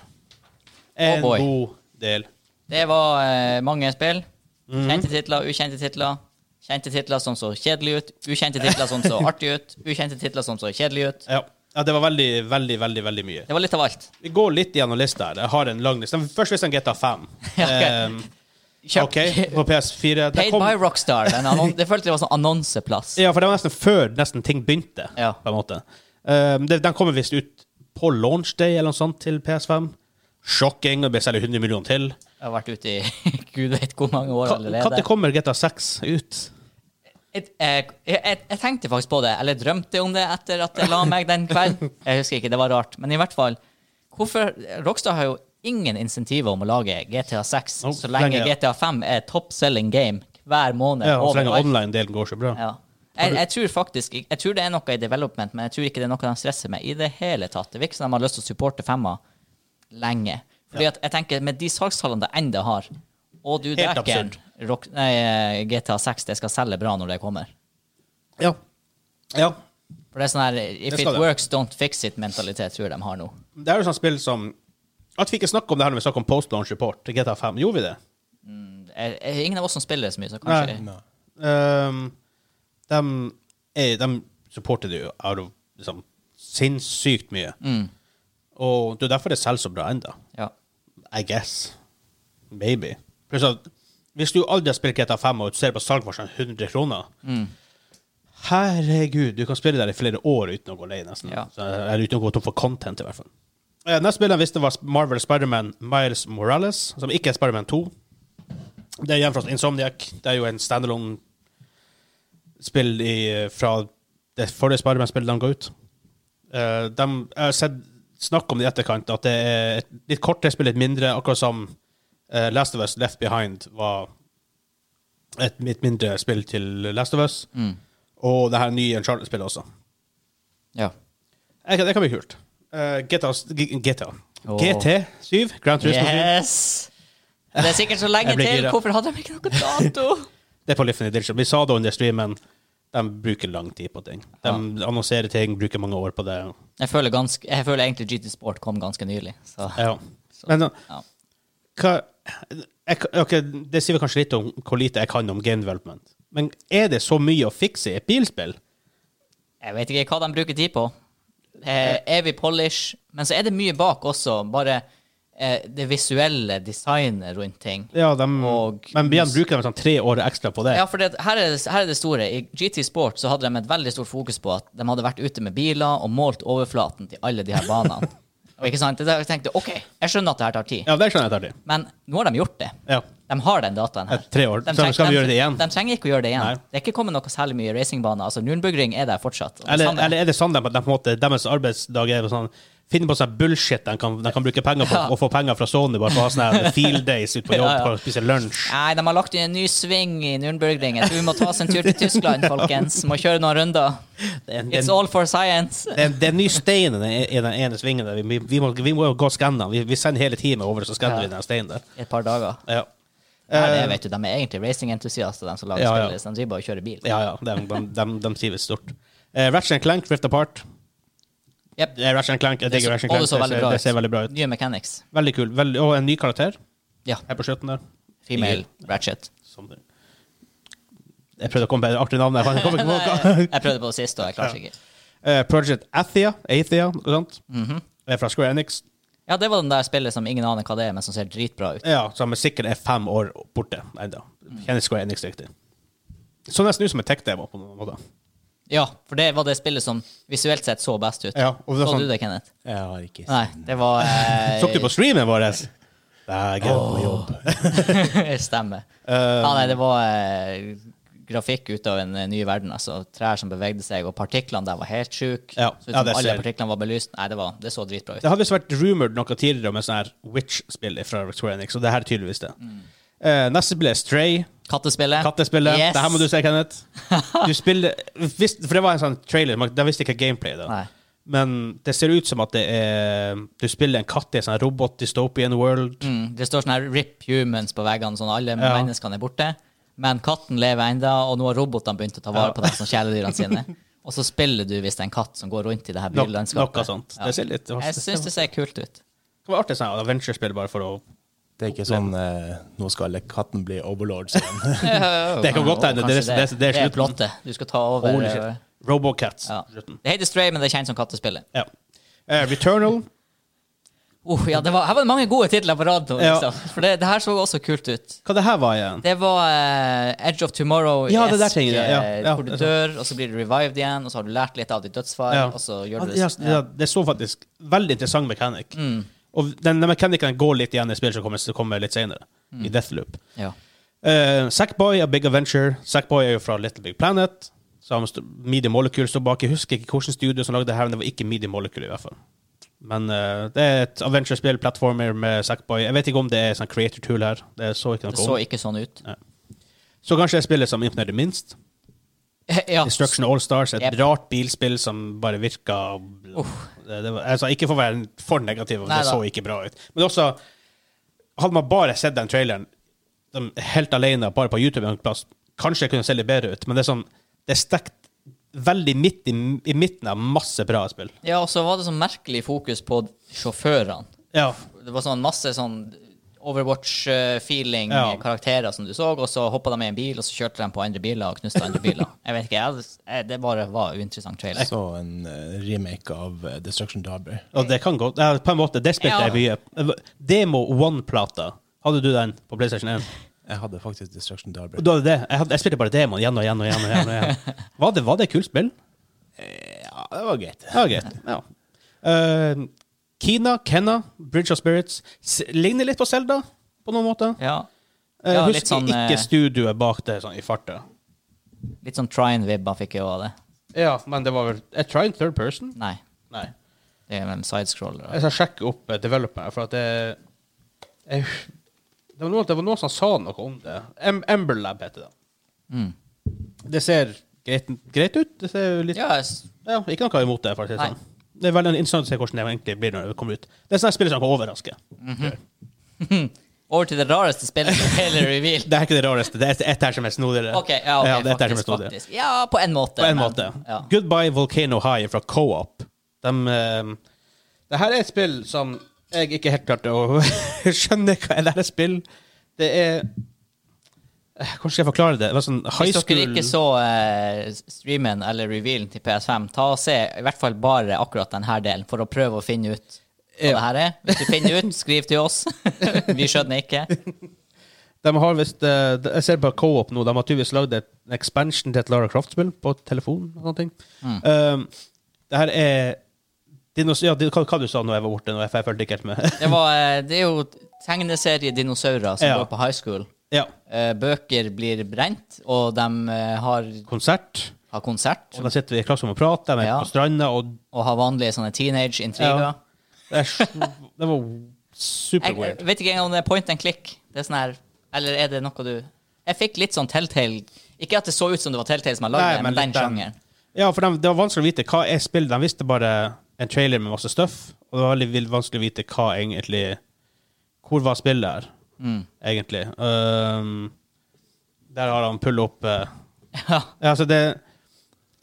A: En
B: Oh, boy.
A: god del.
B: Det var eh, mange spill.
A: Mhm.
B: Kjente titler, ukjente titler. Kjente titler som så kjedelige ut, ukjente titler som så artige ut, ukjente titler som så kjedelige ut.
A: Ja. ja, det var veldig, veldig, veldig veldig mye.
B: Det var litt av alt.
A: Vi går litt gjennom lista her. Jeg har en lang liste. Først hvis jeg GTA 5.
B: Ja,
A: Ehm,
B: ok. Kjøp-
A: OK, på PS4. Det
B: Paid
A: kom,
B: by Rockstar. Den annon det føltes det var sånn annonseplass.
A: ja, for det var nesten før nesten ting begynte,
B: Ja.
A: på en måte. Ehm, det, den kommer visst ut på launch day eller noe sånt til PS5. Sjokking. Det blir selger 100 millioner til.
B: Jeg har vært ute i gud vet hvor mange år allerede.
A: Når kommer GTA 6 ut?
B: Jeg, jeg, jeg, jeg tenkte faktisk på det, eller drømte om det etter at jeg la meg den kvelden. Jeg husker ikke, det var rart. Men i hvert fall, hvorfor Rockstar har jo ingen insentiver om å lage GTA 6
A: Nope,
B: så lenge
A: lenge, ja.
B: GTA 5 er top selling game hver måned.
A: Ja, og så lenge
B: overalt.
A: online-delen går så bra.
B: Ja. Jeg, jeg tror faktisk Jeg tror det er noe i development, men jeg tror ikke det er noe de stresser med i det hele tatt. Det virker som de har lyst til å supporte femma lenge. Fordi at jeg tenker, med de salgstallene det enda har, og du
A: Helt
B: dæken Rock- nei, GTA 6, det skal selge bra når det kommer.
A: Ja. ja.
B: For det er sånn her If
A: Det
B: it
A: skal det.
B: works, don't fix it-mentalitet tror jeg de har nå.
A: Det er jo sånn spill som At vi ikke snakker om det her når vi snakker om Post Launch Report til GTA 5. Gjorde vi det?
B: Jeg, jeg, ingen av oss som spiller så mye, så kanskje
C: Nei.
A: Um, de, er, de supporter det jo out of liksom, sinnssykt mye. Og det er derfor det selger så bra ennå.
B: Ja.
A: I guess. Maybe. Pluss at hvis du aldri har spilt GTA 5 og du ser på salgvarslene 100 kroner Herregud, du kan spille der i flere år uten å gå lei, nesten.
B: Ja.
A: Så, eller uten å gå tom for content, i hvert fall. Eh, Neste bilde jeg visste, var Marvel Spiderman Miles Morales, som ikke er Spiderman 2. Det er igjen fra Insomniac. Det er jo en standalone-spill i- fra det forrige Spiderman-spillet de ga ut. Eh, de, jeg har sett snakk om det i etterkant, at det er et litt kortere spill, litt mindre, akkurat som eh, Last of Us Left Behind var et litt mindre spill til Last of Us,
B: Mm.
A: og det her nye Uncharted-spillet også.
B: Ja.
A: Jeg kan- Det kan bli kult. Eh, GTA, s- G- GTA.
B: Åh.
A: GT7. Grand Turismo 7.
B: Yes! Det er sikkert så lenge
A: Jeg blir
B: til.
A: gira.
B: Hvorfor hadde de ikke noen dato?
A: Det er på Liffen Edition. Vi sa det under streamen. De bruker lang tid på ting. De annonserer ting, bruker mange år på det.
B: Jeg føler, ganske, jeg føler egentlig GT Sport kom ganske nylig. Så.
A: Ja. Men uh,
B: Ja.
A: hva jeg, kan- ok, Det sier vel kanskje litt om hvor lite jeg kan om game development. Men er det så mye å fikse i et bilspill?
B: Jeg vet ikke hva de bruker tid på. Eh, evig polish. Men så er det mye bak også. Bare eh, det visuelle designet rundt ting.
A: Ja, de,
B: Og-
A: men igjen bruker de sånn tre år ekstra på det.
B: Ja, for det, her, er det, her er det store. I GT Sport så hadde de et veldig stort fokus på at de hadde vært ute med biler og målt overflaten til alle de her banene. og ikke sant? Det der Jeg tenkte OK, jeg skjønner at det her tar tid.
A: Ja, det skjønner jeg tar det.
B: Men nå har de gjort det.
A: Ja.
B: De har den dataen her.
A: Et tre år. Så skal vi gjøre det igjen?
B: De trenger ikke å gjøre det igjen.
A: Nei.
B: Det er ikke kommet noe særlig mye racingbaner. Altså, Nürnbergring er der fortsatt. Og det
A: Eller,
B: samme-
A: eller er det sånn at de, på en måte, deres arbeidsdag er sånn Finne på sånn bullshit de kan, de kan bruke penger på,
B: Ja.
A: og få penger fra Sony bare for å ha sånne field days ut på jobb
B: Ja, ja.
A: for å spise lunsj.
B: Nei, de har lagt inn en ny sving i Nürnbergring. Jeg tror vi må ta oss en tur til Tyskland, folkens. Må kjøre noen runder.
A: Det er en, det
B: It's
A: er en,
B: all for science.
A: det er en, det er en ny stein i den- i den ene svingen der. Vi, vi, må, vi må jo gå og skanne den. Vi, vi sender hele teamet over, så skanner
B: Ja.
A: vi den steinen der.
B: Et par dager.
A: Ja.
B: Nei, det
A: Eh,
B: vet du, De er egentlig racingentusiaster, de som lager
A: Ja, ja.
B: spillet. liksom. De driver bare og kjører bil.
A: Ja, ja. De, de, de, de trives stort. Eh, Ratchet Clank, Rift Apart.
B: Yep.
A: Eh, Ratchet Clank, Jeg digger Ratchet
B: og
A: Clank.
B: det så veldig bra
A: det ser veldig bra ut.
B: Nye mechanics.
A: Veldig kul. Veldig, og en ny karakter
B: Ja.
A: her på slutten der.
B: Female ratchet.
A: Som det. Jeg prøvde å komme på et artig navn. Jeg fant- jeg kom ikke på noe.
B: Nei, Eh, jeg prøvde på det sist, og jeg klarte ikke.
A: Eh, Project Athea, Athea, noe sånt.
B: Mhm.
A: Det er fra Square Enix.
B: Ja, det var den der spillet som ingen aner hva det er, men som ser dritbra ut.
A: Ja, som er sikkert er fem år borte ennå. Kjenner Square Enix riktig. Så nesten ut som et tech-demo på noen måte.
B: Ja, for det var det spillet som visuelt sett så best ut.
A: Ja, og det
B: Så
A: er
B: du
A: sånn,
B: det, Kenneth?
C: Jeg har ikke
B: Nei, det var eh,
A: så du på streamen vår? Nei, jeg er på jobb.
B: Stemmer.
A: Eh,
B: Ja, nei, det var eh, grafikk ut av en eh, ny verden. Altså trær som bevegde seg, og partiklene der var helt sjuke.
A: Ja,
B: Så ut
A: ja,
B: som
A: det
B: alle
A: ser-
B: partiklene var belyst. Nei, det, var, det så dritbra ut.
A: det hadde visst vært rumored noe tidligere om en sånn her Witch-spill fra Square Enix, og det her er tydeligvis det. Eh, neste spill er Stray.
B: Kattespillet.
A: Kattespillet.
B: Yes.
A: Det her må du se, Kenneth. Du spiller hvis, For det var en sånn trailer, man- de visste ikke gameplay. da.
B: Nei.
A: Men det ser ut som at det er Du spiller en katt i en sånn robot-dystopian world.
B: Mm, det står sånn her 'rip humans' på veggene, sånn alle
A: Ja.
B: menneskene er borte. Men katten lever enda, og nå har robotene begynt å ta vare
A: Ja.
B: på dem som kjæledyrene sine. Og så spiller du hvis det er en katt som går rundt i det her
A: No,
B: bylandskapet.
A: noe sånt. Det ser litt-
B: Jeg syns det ser kult ut.
A: Det kan være artig sånn adventure-spill, bare for å
C: Det er ikke sånn eh, Nå skal katten bli overlord. Sånn.
A: Det kan godt hende.
B: Kanskje
A: Det er- det er- det er slutten.
B: plottet. Du skal ta over
A: Holy shit.
B: eh,
A: Robocats.
B: ja.
A: Slutten.
B: Det heter Stray, men det er kjent som Kattespillet.
A: Ja. Eh, Returnal.
B: Oh, ja, det var, her var det mange gode titler på rad nå.
A: Ja.
B: Liksom. For det, det her så også kult ut.
A: Hva det her var igjen?
B: Det var eh, Edge of Tomorrow,
A: Ja, det der
B: esk,
A: tingen, ja,
B: eh,
A: ja,
B: hvor du
A: det er
B: dør, og så blir du revived igjen, og så har du lært litt av ditt dødsfall,
A: Ja.
B: og så Altså, gjør du
A: Ja,
B: det. Mm.
A: det, ja, det så faktisk veldig interessant mechanic. Og den, den mekanikken går litt igjen i spill som kommer, som kommer litt senere,
B: Mm.
A: i Deathloop.
B: Ja.
A: Eh, Sackboy er Big Adventure. Sackboy er jo fra Little Big Planet. Som st- Media Molecule står bak. Jeg husker ikke hvilket studio som lagde det her, men det var ikke Media Molecule i hvert fall. Men eh, det er et adventure-spill, platformer med Sackboy. Jeg vet ikke om det er sånn creator tool her. Det så ikke
B: Det
A: noe
B: så
A: om.
B: ikke sånn ut.
A: Så kanskje det er spillet som imponerer minst.
B: Ja.
A: Destruction All Stars, et
B: Yep.
A: rart bilspill som bare virka det, det var, altså, Ikke for å være for negativ, men
B: Nei
A: det
B: da.
A: så ikke bra ut. Men også, hadde man bare sett den traileren de, helt alene, bare på YouTube, en plass, kanskje det kunne se litt bedre ut, men det er sånn Det er stekt veldig midt i, i midten av masse bra spill.
B: ja, og så var det sånn merkelig fokus på sjåførene.
A: Ja.
B: Det var sånn masse sånn Overwatch-feeling
A: Ja.
B: karakterer som du så, og så hoppa de i en bil, og så kjørte de på andre biler og knuste andre biler. Jeg vet ikke, jeg, hadde- jeg, det bare var uinteressant trailer.
C: Så en eh, remake av eh, Destruction Derby.
A: Og det kan gå ja, På en måte, det spilte
B: Ja.
A: jeg mye. Demo One-plata. Hadde du den på PlayStation 1?
C: Jeg hadde faktisk Destruction Derby.
A: Du hadde det? Jeg, hadde, jeg spilte bare demoen igjen og igjen og igjen. og igjen, og igjen. Var det, var det et kult spill?
C: Eh, Ja, det var greit.
A: Ja, greit. Ja. Eh, Kina, Kenna, Bridge of Spirits S ligner litt på Selda på noen måte.
B: Ja.
A: Eh,
B: Ja, litt
A: husker
B: sånn, eh,
A: ikke studioet bak det sånn i farta.
B: Litt sånn Trine-vibber fikk jeg òg av det.
A: Ja, men det var vel Er Trine third person?
B: Nei.
A: Nei.
B: Det er en sidescroller.
A: Jeg skal sjekke opp eh, developer, for at det jeg, det, var noen, det var noen som sa noe om det. Em, Ember Lab heter det.
B: Mm.
A: Det ser greit, greit ut. Det ser jo litt
B: Ja, jeg s-
A: Ja, ikke noe imot det, for å si det
B: Nei.
A: sånn. Det er veldig interessant å se hvordan det egentlig blir når det kommer ut. Det er sånne spill som kan overraske.
B: over til det rareste spillet som hele reveal.
A: Det er ikke det rareste. Det er et her som er snodigere.
B: Ok, ja, ok,
A: det er et her som er
B: faktisk,
A: snodigere.
B: faktisk. Ja, på en måte.
A: På en
B: men-
A: måte.
B: Ja.
A: Goodbye Volcano High fra Co-op. De, eh, det her er et spill som jeg ikke helt klarte å skjønne hva er det her er spill. Det er eh, Hvordan skal jeg forklare det? Det var sånn high
B: Hvis
A: school
B: dere ikke så eh, streamen eller revealen til PS5, ta og se i hvert fall bare akkurat denne delen, for å prøve å finne ut
A: Ja.
B: hva det her er. Hvis du finner ut, skriv til oss. Vi skjønner ikke.
A: De har visst eh, de- Jeg ser på Co-op nå, de har tydeligvis lagd et- en expansion til et Lara Croft-spill på telefon. og sånne ting. Um, det her er dinos ja, din- hva, hva du sa når jeg var borte, når jeg, for jeg fulgte ikke helt med.
B: Det, var, eh, det er jo tegneseriedinosaurer som
A: Ja.
B: går på high school.
A: ja.
B: Eh, Bøker blir brent, og de eh, har,
A: Konsert.
B: har konsert
A: Og da sitter vi i klasserommet og prater, de er
B: Ja.
A: på stranda, og
B: og har vanlige sånne teenage-intriger.
A: Ja. det, er, s- det var super
B: Jeg
A: weird.
B: jeg vet ikke engang om det er point and click. Det er sånn her, eller er det noe du Jeg fikk litt sånn Telltale Ikke at det så ut som det var Telltale som hadde lagd
A: Nei, men
B: det, men den
A: litt den.
B: sjangeren.
A: Ja, for dem- det var vanskelig å vite hva er spillet. De visste bare en trailer med masse stuff, og det var veldig vild- vanskelig å vite hva egentlig Hvor var spillet her, Mm. egentlig? Ehm, der har han pull opp eh,
B: Ja.
A: ja, Altså, det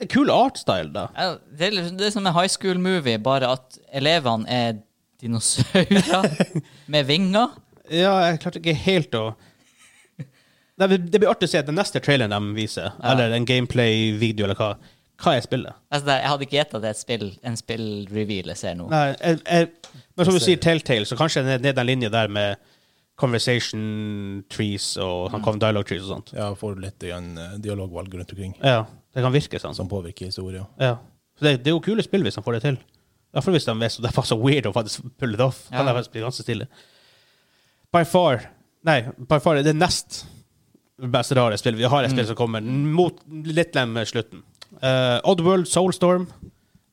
A: det er Kul artstyle, da.
B: Ja, Det er, litt- det er som en high school movie, bare at elevene er dinosaurer med vinger.
A: Ja, jeg klarte ikke helt å Nei, Det det blir artig å se den neste traileren de viser, eller en gameplay-video, eller hva. Hva er spillet?
B: Altså, det- jeg hadde ikke gjetta det er et spill, en spill-reveal jeg ser nå.
A: Nei, jeg, jeg, men som du sier, Telltale, så kanskje ned, ned den linja der med conversation trees og sånn, dialogue trees og sånt.
C: Ja, får litt grann, eh, dialogvalg rundt omkring
A: Ja, det kan virke sånn.
C: som påvirker historien.
A: Ja. Så det, det er jo kule spill hvis de får det til. Iallfall hvis de er så, det er bare så weird å faktisk pulle det off. Kan
B: Ja.
A: de faktisk bli ganske stille. By far Nei, by far er det nest beste rare spill. Vi har et spill som kommer mot litt nærmere slutten. Eh, Oddworld, Soulstorm.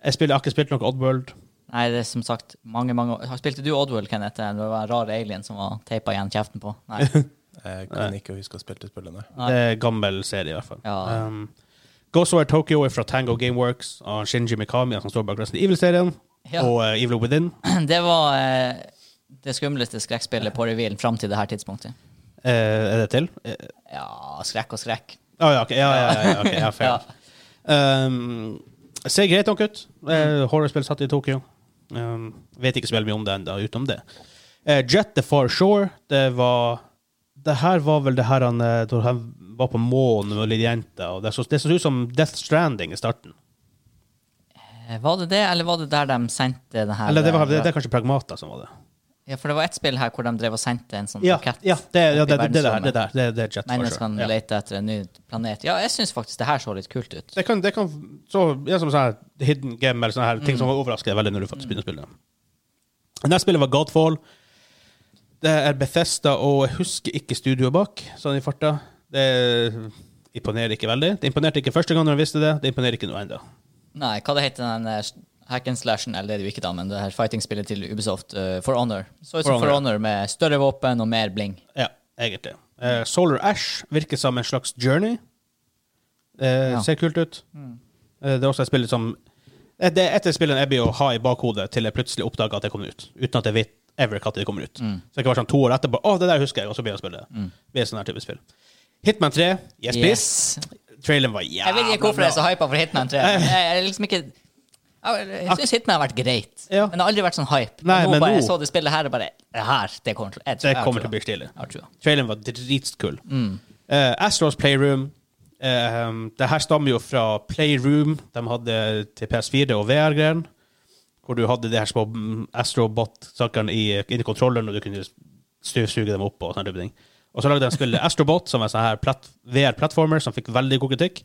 A: Jeg, spiller, jeg har ikke spilt noe Oddworld.
B: Nei, det er som sagt mange, mange år Har- Spilte du Oddworld, Kenneth? Det var en rar alien som var teipa igjen kjeften på? Nei.
C: Jeg kan ikke huske å ha spilt det spillet, nei.
B: Nei.
A: Det er en gammel serie, i hvert fall.
B: Ja.
A: Um, Ghostwire Tokyo er fra Tango Gameworks og Shinji Mikami, han som står bak Resident Evil-serien,
B: Ja.
A: og eh, Evil Within.
B: Det var eh, det skumleste skrekkspillet på revealen fram til det her tidspunktet.
A: Eh, er det til? Eh,
B: Ja, skrekk og skrekk.
A: Å ja, ok. Ja, ja, ja, ja, ok, ja, fair.
B: Ja. Mm.
A: Um, ser greit nok ut. Eh, horrorspill satt i Tokyo. Um, vet ikke så veldig mye om det ennå, utenom det. Eh, Jet the Far Shore, det var Det her var vel det her han eh, da han var på månen med lille jenta, og det så, det så ut som Death Stranding i starten.
B: Eh, Var det det, eller var det der de sendte det her?
A: Eller det, var, det, det er kanskje Pragmata som var det.
B: Ja, for det var ett spill her hvor de drev og sendte en sånn
A: Ja,
B: rakett.
A: ja, det, ja
B: opp i
A: det, det, det, der,
B: verdensrommet.
A: det der. Det, det er Jet for sure.
B: Menneskene
A: Ja.
B: leter etter en ny planet. Ja, jeg syns faktisk det her så litt kult ut.
A: Det kan, det kan så, ja, som sånn her hidden game eller sånne her, ting
B: Mm.
A: som overrasker deg veldig når du faktisk begynner å spille. Det neste spillet var Godfall. Det er Bethesda, og jeg husker ikke studioet bak, sånn i farta. Det imponerer ikke veldig. Det imponerte ikke første gang når jeg visste det. Det imponerer ikke nå ennå.
B: Nei, hva det heter den eh, hack and slashen, eller det er det jo ikke da, men det her fighting-spillet til Ubisoft, eh, For Honor. Så ut som
A: For
B: For
A: Honor.
B: Honor med større våpen og mer bling.
A: Ja, egentlig. Eh, Solar Ash virker som en slags journey. Eh,
B: Ja. Mm.
A: Ser kult ut. Eh, det er også et spill som eh, Det er et av spillene jeg blir å ha i bakhodet til jeg plutselig oppdager at det kommer ut. Uten at jeg vet ever når det kommer ut.
B: Mm.
A: Så det kan være sånn to år etterpå Å, det der husker jeg, og så begynner jeg å spille det. Det er sånn her type spill. Hitman 3, yes,
B: Yes.
A: please. Traileren var jævla
B: Jeg vet ikke hvorfor jeg er så hypa for Hitman 3. Jeg, jeg, er liksom ikke, jeg, jeg syns Hitman har vært greit,
A: Ja.
B: men det har aldri vært sånn hype.
A: Nei,
B: nå
A: men
B: bare
A: nå-
B: jeg så det spillet her, og bare Det her, det kommer til, jeg tror-
A: Det
B: sånn. jeg
A: kommer
B: tror
A: til å bli stilig.
B: Jeg har trua.
A: Traileren var dritkul. Eh, Astros Playroom eh, Det her stammer jo fra Playroom de hadde til PS4 og VR-greien. Hvor du hadde de her små mm, Astrobot-sakene i- inni kontrolleren, og du kunne støvsuge dem opp. Og sånne type ting. Og så lagde de spillet Astrobot, som er sånn her platt, VR-plattformer, som fikk veldig god kritikk.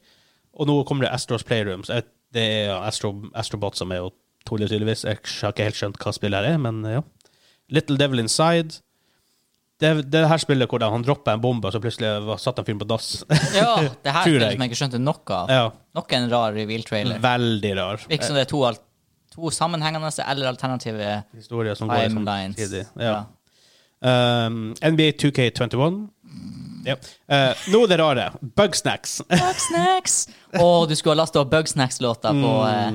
A: Og nå kommer det Astros Playroom. Så jeg- det er jo Astro, Astrobot som er jo Tore tydeligvis. Jeg har ikke helt skjønt hva spillet her er, men ja. Little Devil Inside. Det, det her spillet hvor han droppa en bombe, og så plutselig var, satt han fyren på dass.
B: Ja, det
A: Tror
B: her spillet
A: jeg.
B: som jeg ikke skjønte noe av.
A: ja, Mm.
B: Nok en rar reveal-trailer.
A: veldig rar
B: Virker som det er to, al- to sammenhengende eller alternative
A: historie som går
B: timelines.
A: samtidig. Ja. Um, NBA 2K21. Ja. Eh, nå det rare. Bugsnacks.
B: Bugsnacks! Å, du skulle ha lasta opp Bugsnacks-låta på eh,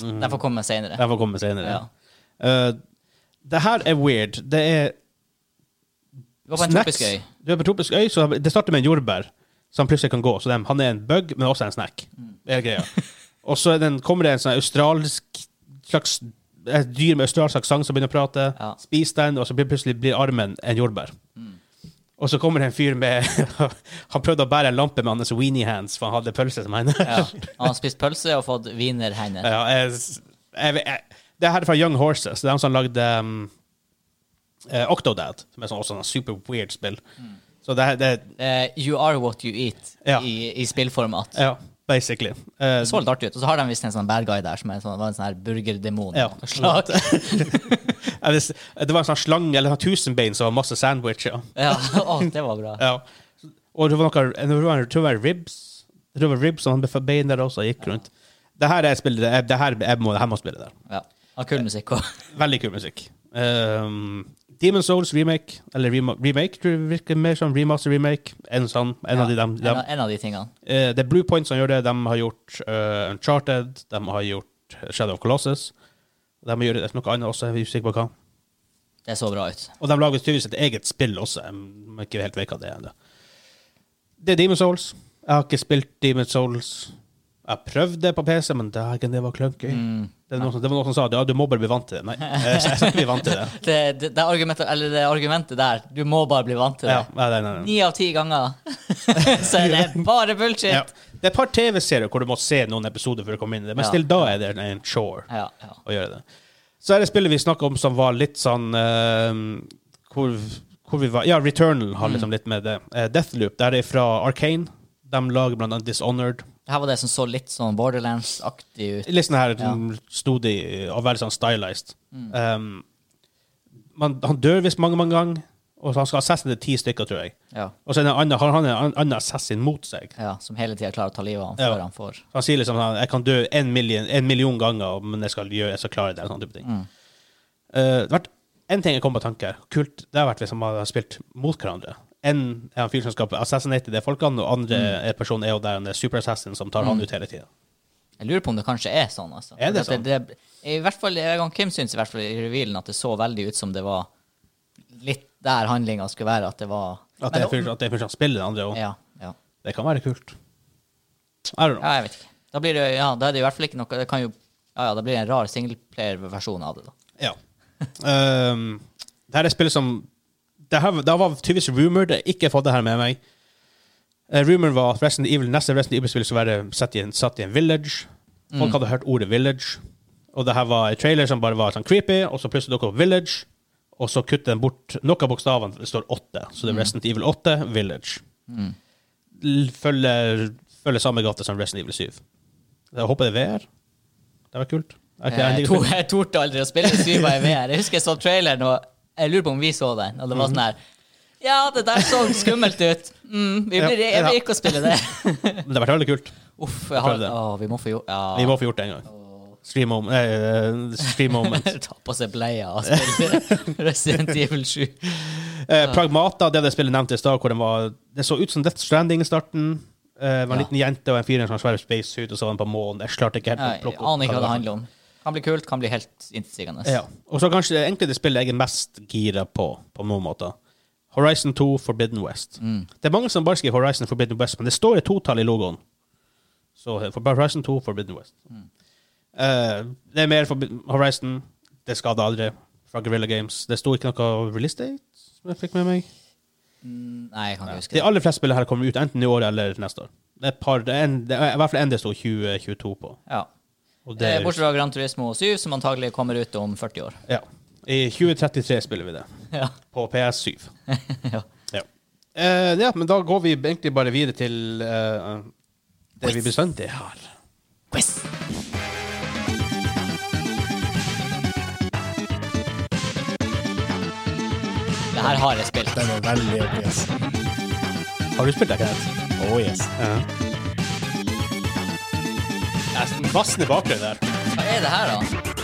A: Mm.
B: Den får komme senere.
A: Jeg får komme senere.
B: Ja.
A: Eh, det her er weird. Det er
B: Du var på en
A: snacks.
B: tropisk øy.
A: Du er på en tropisk øy, så det starter med en jordbær som plutselig kan gå. Så dem- han er en bug, men også en snack.
B: Mm.
A: Det er greia. Og så er den, kommer det en sånn australsk slags et dyr med australsk aksent som begynner å prate.
B: Ja. Mm.
A: Spis den, og så blir plutselig blir armen en jordbær. Og så kommer det en fyr med Han prøvde å bære en lampe med hans weenie hands, for han hadde pølse som hender.
B: Ja. Han har spist pølse og fått wienerhender.
A: Ja, jeg, jeg, jeg, det her er fra Young Horses. Det er de som lagde um, eh, Octodad, som er sånn, også sånn super weird spill.
B: Mm.
A: Så det her det,
B: Eh, you are what you eat
A: Ja.
B: i, i spillformat.
A: Ja, basically. Eh,
B: Det så litt artig ut. Og så har de visst en sånn bad guy der som er en sånn, var en sånn her burgerdemon.
A: Ja.
B: av noe slag.
A: jeg vis- det var en sånn slange eller sånn tusenbein som var masse sandwicher.
B: ja. Å, det var bra.
A: Ja. Og det var noe jeg tror det var- jeg tror det var ribs. Jeg tror det var ribs og han bein der også gikk rundt. Det her er spillet, det, er- det her, jeg må, det her må spille der.
B: Ja. Av kul musikk òg.
A: Veldig kul musikk. Um, Demon Souls remake, eller rema remake, tror jeg virker mer som remaster-remake. En sånn, en av de dem.
B: en,
A: dem.
B: av- en av de tingene.
A: Eh, det er Blue Point som gjør det. De har gjort eh, Uncharted, de har gjort eh, Shadow of Colossus. De gjør det noe annet også, jeg er usikker på hva.
B: Det så bra ut.
A: Og de lager tydeligvis et eget spill også. Jeg må ikke helt vet hva det er ennå. Det er Demon Souls. Jeg har ikke spilt Demon Souls. Jeg prøvde det på PC, men dægen, det var clunky.
B: Mm.
A: Det, var noen som, det var noen som sa ja, du må bare bli vant til det. Nei, eh, jeg, jeg skal ikke bli vant til det.
B: Det, det, det, argumentet, eller det argumentet der, du må bare bli vant til det.
A: Ja, nei, nei, nei, nei.
B: Ni av ti ganger så er det bare bullshit.
A: Ja.
B: Ja.
A: Det er et par TV-serier hvor du må se noen episoder for å komme inn i det, men
B: Ja.
A: still, da er det en chore.
B: Ja,
A: å gjøre det. Så er det spillet vi snakket om som var litt sånn eh, hvor, hvor vi var Ja, Returnal har liksom litt med det. Eh, Deathloop, der er fra Arcane. De lager blant annet Dishonored.
B: Det her var det som så litt sånn Borderlands-aktig ut.
A: Litt sånn her
B: Ja.
A: stodig og veldig sånn stylized. Um, man, han dør visst mange, mange ganger, og så han skal assassine ti stykker, tror jeg.
B: Ja,
A: Og så er det en annen- har han en an- annen assassin mot seg.
B: ja Som hele tida klarer å ta livet av ham
A: Ja.
B: før han får
A: Han sier liksom sånn, jeg kan dø en million, en million ganger, men jeg skal, gjøre, jeg skal klare det. Sånn type ting.
B: Mm.
A: Eh, det har vært en ting jeg kom på tanke. Kult, det har vært hvis man har spilt mot hverandre. En er han fyr som skal assassinate de folkene, og andre
B: Mm.
A: er personen er jo der en superassassin som tar han ut hele tida.
B: Jeg lurer på om det kanskje er sånn. altså.
A: Er det
B: For at Det, det, I hvert fall, jeg og Kim syns i hvert fall i revealen at det så veldig ut som det var litt der handlinga skulle være. At det var
A: At det er
B: Men-
A: fyr- at det er fyr som spiller den andre og
B: ja, ja.
A: Det kan være kult. I don't know.
B: ja, jeg vet ikke. Da blir det, ja, da er det i hvert fall ikke noe Det kan jo, ja, ja, da blir det en rar singleplayer-versjon av det. da.
A: Ja. Ehm, det her er spillet som Det, her, det var tydeligvis rumored. Jeg har ikke fått det her med meg. Uh, rumoren var at Resident Evil, neste Resident Evil skulle være satt i en, satt i en village. Folk hadde hørt ordet village. Og det her var en trailer som bare var sånn creepy, og så plutselig dukket opp village. Og så kutter den bort noen av bokstavene. Det står åtte. Så det er Resident Evil 8, Village. L- Følger, følger samme gate som Resident Evil 7. Jeg håper det er VR. Det var kult. Jeg har ikke- jeg har
B: Eh, Jeg,
A: ikke-
B: to, jeg torde aldri å spille Syva i VR. Jeg husker jeg så traileren, og jeg lurer på om vi så den. Og det var sånn her Ja, det der så skummelt ut. Mm, vi blir, jeg blir ikke å spille det.
A: Men det har vært veldig kult.
B: Uff, jeg har,
A: Prøv det.
B: å, vi må få gjort
A: Vi
B: ja.
A: må få gjort det en gang. Stream moment. Eh, stream moment.
B: Ta på seg bleia og spille Resident Evil 7.
A: Eh, Pragmata, det det spillet nevnte i stad, hvor den var Det så ut som Death Stranding i starten. Eh, det var en
B: Ja.
A: liten jente og en fyr i en sånn svær spacesuit, og så var den på månen. Jeg klarte ikke helt å
B: Jeg
A: plukke
B: aner ikke hva det
A: var.
B: handler om. Kan bli kult, kan bli helt intetsigende.
A: Ja. Og så kanskje det egentlig det spillet jeg er mest gira på, på noen måter. Horizon 2 Forbidden West.
B: Mm.
A: Det er mange som bare skriver Horizon Forbidden West, men det står et totall i logoen. Så eh, for Horizon 2 Forbidden West.
B: Mm.
A: Eh, det er mer Forbidden Horizon. Det skader aldri fra Guerrilla Games. Det sto ikke noe release date som jeg fikk med meg.
B: Nei, jeg kan ikke huske
A: De
B: det.
A: aller fleste spillene her kommer ut enten i år eller neste år. Det er, et par, det er, en, det er i hvert fall en det sto 2022 på.
B: Ja.
A: Og det,
B: Eh, Bortsett fra Gran Turismo 7, som antagelig kommer ut om 40 år.
A: ja. I 2033 spiller vi det.
B: Ja.
A: På PS7.
B: ja.
A: Ja. Eh, ja, men da går vi egentlig bare videre til eh, det vi bestandig har.
B: Quiz. Det her har jeg spilt.
C: Den er veldig obvious.
A: Har du spilt det, Kenneth?
C: Oh yes.
A: Det er bassen i bakgrunnen der.
B: Hva er det her, da?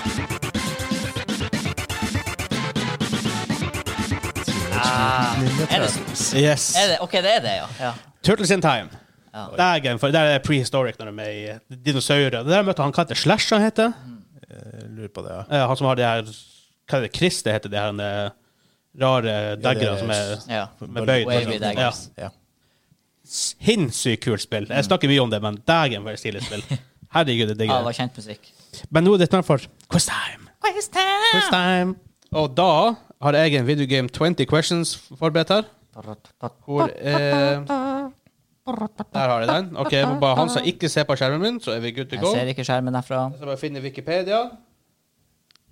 B: Ah, er, det,
A: Yes.
B: er det OK, det er det, ja. ja. Ah,
A: Turtles in Time.
B: Ja.
A: Det er game for, det er prehistoric når de er med i dinosaurer. Det der møtte han, hva heter Slash han heter?
B: Mm.
C: Jeg lurer på det, ja.
A: Eh, han som har de her, hva er det, Chris det heter, de her eh, rare daggerne som er
B: ja.
A: med bøyd.
B: Wavy daggers.
C: ja.
A: Sinnssykt kult spill. Jeg snakker mye om det, men dægen for et stilig spill. Herregud, det digger
B: Mm. Ja, det
A: jeg.
B: var kjent musikk.
A: Men nå er det snart for quiz time. Quiz time. Og da har jeg en videogame 20 questions forberedt her. Hvor eh, Der har jeg den. Ok, jeg må bare han som ikke ser på skjermen min, så er vi good to
B: Jeg
A: go.
B: ser ikke skjermen herfra.
A: Jeg skal bare finne Wikipedia.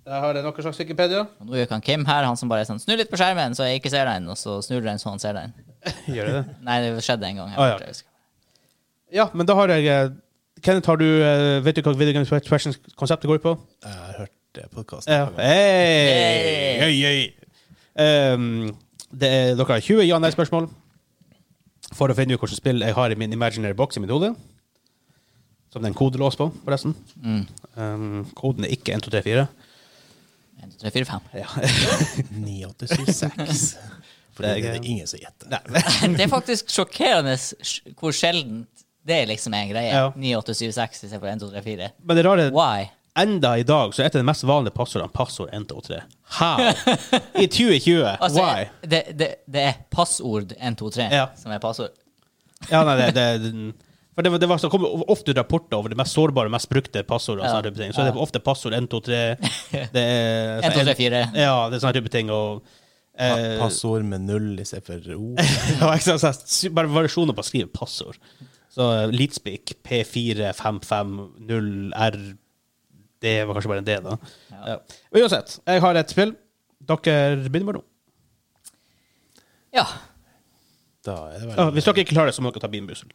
A: Der har jeg noe slags Wikipedia.
B: Og nå gjør han Kim her, han som bare er sånn Snu litt på skjermen, så jeg ikke ser den. Og så snur du den, så han ser den.
A: Gjør jeg det?
B: Nei, det skjedde en gang. Jeg
A: Ah, ja.
B: vet ikke.
A: Ja, men da har jeg eh, Kenneth, har du, eh, vet du hva Video Games Questions-konseptet går ut på?
C: Jeg har hørt eh, det podkastet.
A: Ja. Hey!
B: Hey!
A: Hey, Um, det er, dere har 20 ja-nei-spørsmål for å finne ut hvilket spill jeg har i min imaginary box i mitt hode. Som det er en kodelås på, forresten.
B: Mm.
A: Um, koden er ikke 1234.
B: 1, 2, 3, 4, 5.
A: Ja.
C: 9876. For
A: Det er
C: det er
A: gøy.
C: det ingen som gjetter.
B: Det er faktisk sjokkerende sj- hvor sjeldent det er liksom en greie.
A: Ja.
B: 9, 8, 7, 6 istedenfor 1, 2, 3, 4.
A: Men det rare er
B: Why?
A: enda i dag så er et av de mest vanlige passordene passord 123. How? I 2020?
B: Altså,
A: Why?
B: Det, det, det er passord 1, 2, 3
A: Ja.
B: som er passord.
A: Ja, nei, det, det, for det, var- det, var, så kom ofte ut rapporter over de mest sårbare, mest brukte passordene. og
B: Ja.
A: sånne type ting. Så det er ofte passord 1, 2, 3 det er, sånn
B: 1, 2, 3, 4.
A: Ja, det er sånne type ting. Og,
C: Pa-
A: eh,
C: Passord med null istedenfor O.
A: ja, ikke sant, så jeg- bare variasjoner på å skrive passord. Så eh, Leadspeak, P4550R Det var kanskje bare en D, da.
B: Ja.
A: Ja. Men Uansett, jeg har et spill. Dere begynner bare nå.
B: Ja.
C: Da er det vel
A: Ja, hvis dere ikke klarer det, så må dere ta beanbussel.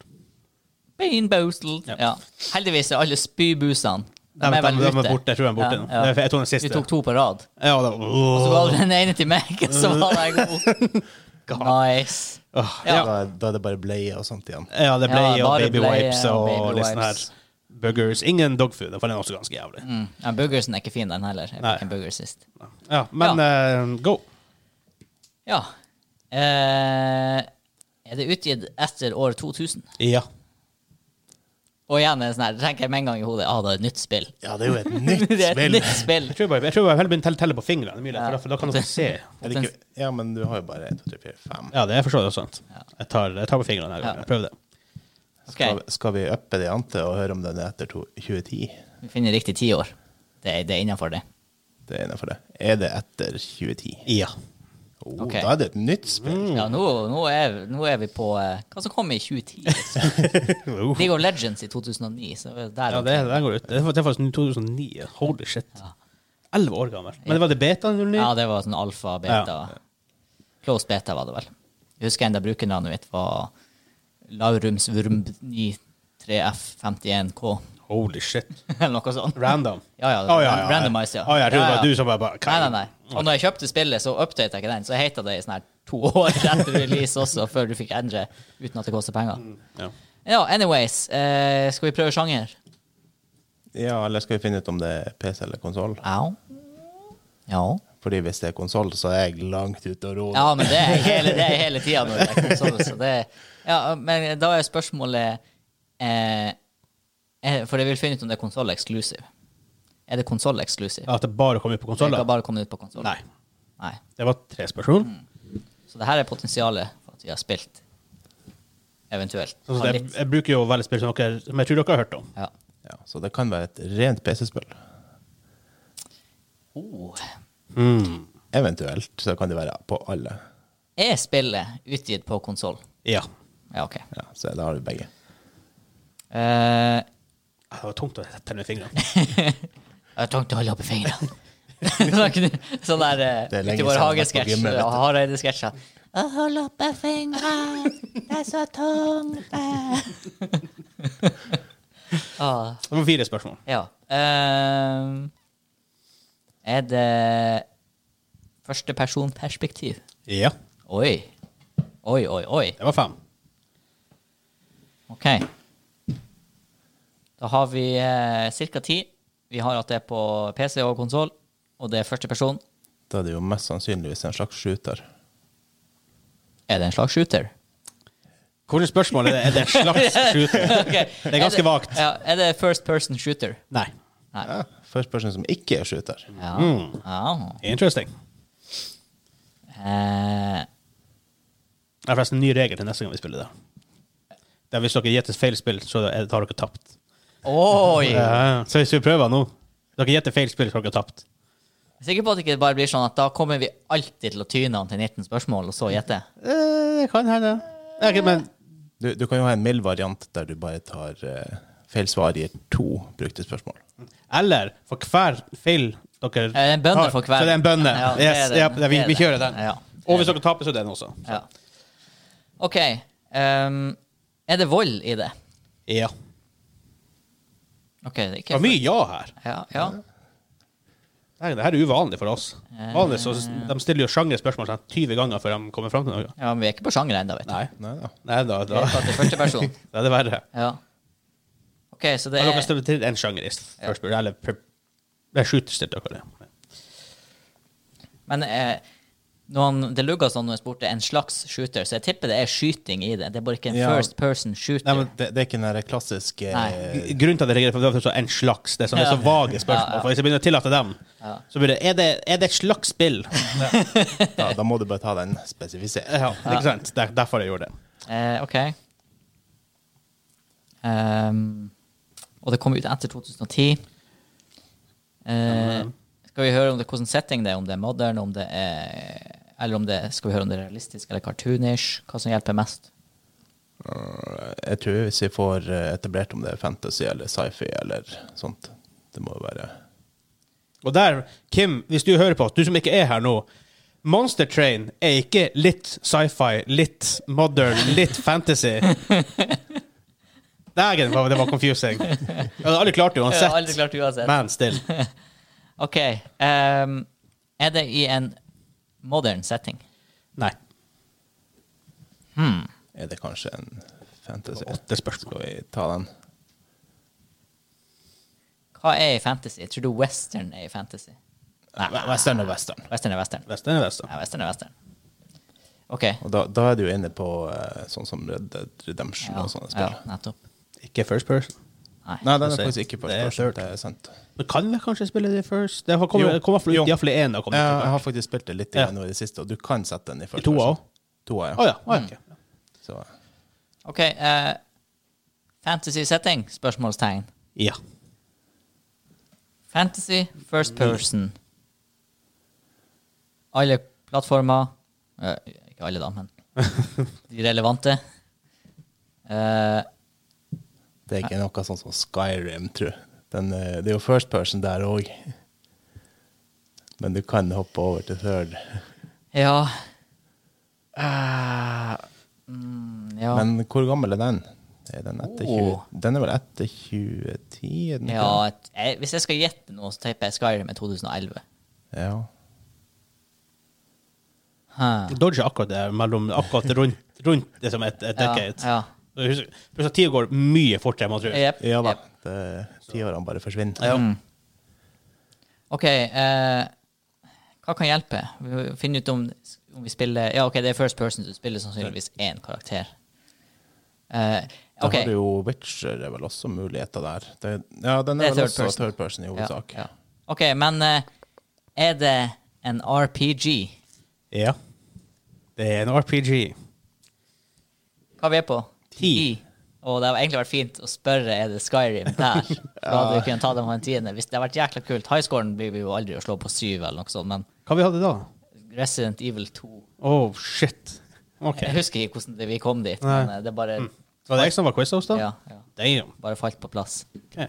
B: Bainboastel.
A: Ja.
B: Ja. Heldigvis er alle spybusene De
A: Nei,
B: er
A: men
B: vel
A: de- de er
B: ute.
A: borte. Jeg tror de er borte nå. Det er- jeg tror den siste.
B: Vi tok to på rad.
A: Ja, da,
B: Så ga du den ene til meg, og så var den god. Nice.
A: Åh,
B: Ja.
A: ja.
C: da, da er det bare bleie og sånt igjen.
A: ja, det ble
B: Ja,
A: og
B: bare
A: baby
B: ble
A: wipes
B: og
A: og,
B: baby
A: litt sånn her
B: wipes.
A: burgers. Ingen dogfood, for den er også ganske jævlig.
B: Mm. Ja, burgersen er ikke fin, den heller. Jeg
A: Nei.
B: fikk en burger sist.
A: Ja, men eh, go.
B: Ja. Eh, er det utgitt etter år 2000?
A: Ja.
B: Og igjen er det sånn her, tenker jeg med en gang i hodet ah, det er et nytt spill.
C: Ja, det er jo et nytt
B: Det er et
C: spill.
B: nytt spill.
A: Jeg tror bare jeg tror bare jeg heller begynner å telle, telle på fingrene. det er mye lettere,
B: Ja.
A: for da kan dere se.
C: Er det ikke, ja, men du har jo bare 1, 2, 3, 4, 5.
A: Ja, det er for så vidt sant. Jeg tar, jeg tar på fingrene denne gangen.
B: Ja.
A: Jeg prøver det.
B: Ok,
C: Skal, skal vi uppe det ante og høre om den er etter to- 2010?
B: Vi finner riktig tiår. Det, er- det er innenfor det.
C: Det er innenfor det. Er det etter 2010?
A: Ja.
C: Oh,
B: Ok.
C: Da er det et nytt spill.
B: Ja, nå, nå, er, nå er vi på eh, hva som kom i 2010. liksom. League of Legends i 2009. Så det er der
A: Ja, det, den går ut. Det var- det var faktisk 2009. Holy shit.
B: Ja.
A: 11 år gammel. Men det var det beta 09?
B: Ja, det var sånn alfa, beta. Close beta var det vel. Jeg husker enda brukernavnet mitt var Laurums Vurm 93F51K,
A: Holy shit.
B: eller noe sånt.
A: Random.
B: Ja, ja,
A: Å, ja.
B: randomize, ja.
A: Å, ja, jeg trodde det
B: Ja,
A: var
B: ja.
A: du som bare, bare
B: Nei, nei, nei. Og når jeg kjøpte spillet, så updata jeg ikke den, så heta det i sånn her to år etter release også, før du fikk endre uten at det koster penger.
A: Ja.
B: Ja, anyways, eh, skal vi prøve sjanger?
C: Ja, eller skal vi finne ut om det er PC eller konsoll?
B: Au. Ja.
C: Fordi hvis det er konsoll, så er jeg langt ute og roer.
B: ja, men det er jeg hele, det er jeg hele tida nå. det er konsol, Så det, ja, men da er spørsmålet eh, eh, For jeg vil finne ut om det er konsoll exclusive. Er det konsoll exclusive?
A: At det bare kom ut på
B: Det kan
A: konsoller?
B: bare komme ut på konsoll.
A: Nei.
B: Nei.
A: Det var tre spørsmål.
B: Så det her er potensialet for at vi har spilt, eventuelt.
A: Sånn som
B: Har
A: det,
B: litt.
A: jeg bruker jo å velge spill som, dere, som jeg tror dere har hørt om.
B: Ja.
C: Ja, så det kan være et rent PC-spill.
B: Oh.
C: Eventuelt så kan det være på alle.
B: Er spillet utgitt på konsoll?
A: Ja.
B: Ja, OK.
C: Ja, så da har vi begge.
B: Eh,
A: Ah, Det var tungt å telle med fingrene.
B: jeg trengte å holde opp i fingrene. sånn kunne- sånn der
C: Det er
B: uh, uti
C: lenge
B: vår
C: siden jeg har vært på
B: hagesketsj
C: gymmet, vet du.
B: og Hareide-sketsjer. Å, Hold opp i fingrene, det er så tungt. ah,
A: Det var fire spørsmål.
B: ja. Eh, er det førstepersonperspektiv?
C: Ja.
B: Oi. Oi, oi, oi.
A: Det var fem.
B: OK. Da har vi eh, ca. ti. Vi har at det er på PC og konsoll, og det er første person.
C: Da er det jo mest sannsynligvis en slags shooter.
B: Er det en slags shooter?
A: Hvor er spørsmålet? Er det en slags shooter? Det er ganske vagt.
B: Ja, er det first person shooter?
A: Nei.
B: Nei.
C: Ja. First person som ikke er shooter.
B: Ja.
A: Hmm.
B: ja.
A: Interesting.
B: Eh,
A: Det er forresten en ny regel til neste gang vi spiller det. Det er Hvis dere gjetter feil spill, så er- har dere tapt.
B: oi! Jeg
A: Ja, Så hvis vi prøver nå Dere gjetter feil spill, så har dere tapt.
B: er sikker på at det ikke bare blir sånn at da kommer vi alltid til å tyne han til 19 spørsmål, og så gjette.
A: Eh, Det kan hende. Ja, ok, men
C: Du, du kan jo ha en mild variant der du bare tar eh, feil svar i to brukte spørsmål.
A: Eller for hver feil dere
B: Er det en bønne
A: har,
B: for hver?
A: Så det er Eh, en bønne.
B: Ja, det er
A: yes,
B: det.
A: ja, det, vi,
B: Det er
A: vi
B: det.
A: kjører den.
B: Ja.
A: Og hvis dere taper, så er det den også.
B: Ja. OK. ehm, er det vold i det?
A: Ja.
B: OK, det er
A: Det
B: ikke
A: var mye ja her.
B: Ja, ja.
A: Nei, det her er uvanlig for oss.
B: Eh.
A: Vanlig så De stiller jo sjangerspørsmål sånn 20 ganger før de kommer fram til noe.
B: ja, men vi er ikke på sjanger ennå, vet du.
A: Nei,
C: Nei da.
A: Nei da,
B: Vi
A: da.
B: er på at det er første person.
A: Det er det verre.
B: Ja. OK, så det
A: Har dere
B: er
A: stilt til en sjanger i først? Eller per- det er shooter stilte dere det.
B: Men eh, når han, det lugga sånn når jeg spurte en slags shooter, så jeg tipper det er skyting i det. Det er bare ikke en
C: Ja.
B: first person shooter.
C: Nei, men det, det er ikke den der klassiske eh,
B: Nei.
A: eh, Grunnen til at jeg reagerer på det, er så en slags. Det er, sånn, det er så vage
B: Ja, ja.
A: spørsmål. For Hvis jeg begynner å tillate dem,
B: Ja.
A: så blir det Er det, er det et slags spill?
C: da, da må du bare ta den spesifisert.
A: Ja, ikke sant? Det er derfor jeg gjorde det.
B: Eh, OK. Ehm, og det kom ut etter 2010. Eh, skal vi høre om det, hvordan setting det er, om det er modern, om det er eller om det, skal vi høre om det er realistisk eller cartoonish? Hva som hjelper mest?
C: Jeg tror hvis vi får eh, etablert om det er fantasy eller sci-fi eller sånt, det må jo være
A: Og der, Kim, hvis du hører på oss, du som ikke er her nå Monster Train er ikke litt sci-fi, litt modern, litt fantasy. Dægen, hva- det var confusing. Jeg hadde aldri klart det
B: Jeg har
A: uansett.
B: aldri klart det uansett.
A: Man still.
B: OK. ehm, er det i en modern setting?
A: Nei.
C: Er det kanskje en fantasy?
A: Åtte spørsmål.
C: Skal vi ta den?
B: Hva er i fantasy? Tror du western er i fantasy?
C: Ve- Western og western.
B: Western er western.
A: Vesten er vesten.
B: Ja, western er western. OK.
C: Og da, da er du jo inne på eh, sånn som Red Dead Redemption
B: Ja,
C: og sånne
B: ja,
C: spill.
B: nettopp.
A: Ikke first person.
C: Nei, den er
A: Det er
C: faktisk ikke på
A: det er
C: spørsmål. Det er sant.
A: Men kan vi kanskje spille det first? Det har
C: Jo.
A: kommet, kom iallfall
C: Jo.
A: ut iallfall én.
C: Jeg, jeg har faktisk spilt det litt
A: Ja.
C: igjen nå i det siste, og du kan sette den i første
A: toa
C: versjon.
A: også?
C: Toa,
A: Å
C: ja.
A: ja. å
B: Mm.
A: ja, ok.
C: Så,
B: OK. eh, fantasy setting? Spørsmålstegn.
A: ja.
B: Fantasy first person. Alle plattformer eh, Ikke alle, da, men de relevante. Eh,
C: det er ikke noe sånn som Skyrim, tror jeg. Den, eh, det er jo first person der òg. Men du kan hoppe over til third.
B: ja Eh, mm, Ja.
C: Men hvor gammel er den? Er den, etter 20,
B: Oh.
C: den er vel etter 2010? er den ikke
B: ja et- jeg, hvis jeg skal gjette noe, så tipper jeg Skyrim er 2011.
C: det? ja.
B: Huh.
A: Dodge er akkurat det mellom Akkurat rundt, rundt det som et, et decade.
B: Ja,
A: Husk husk at tida går mye fortere enn man tror.
B: ja. Jep,
C: ja da.
B: jep.
C: Det- Tiårene bare forsvinner.
B: Mm. OK. eh, hva kan hjelpe? Vi må finne ut om, om vi spiller Ja, OK, det er first person, så du spiller sannsynligvis én karakter. Eh,
C: Da
B: OK.
C: har du jo Witcher er vel også muligheter der. Det, ja, den
B: Det
C: er
B: er
C: vel
B: third
C: også
B: person.
C: third person i hovedsak.
B: Ja, ja. OK, men eh, er det en RPG?
A: Ja. Det er en RPG.
B: Hva er vi på?
A: Ti.
B: Og det hadde egentlig vært fint å spørre er det Skyrim der. Da hadde vi kunnet ta dem på en tiende. Hvis det hadde vært jækla kult. Highscoren blir vi jo aldri å slå på syv eller noe sånt, men
A: Hva vi hadde da?
B: Resident Evil 2
A: Oh, shit. OK.
B: Jeg husker ikke hvordan det, vi kom dit,
A: Nei.
B: men eh, det bare,
C: Mm.
A: Var det jeg som var quiz host, da?
B: ja, ja,
A: Damn.
B: bare falt på plass.
A: Ok.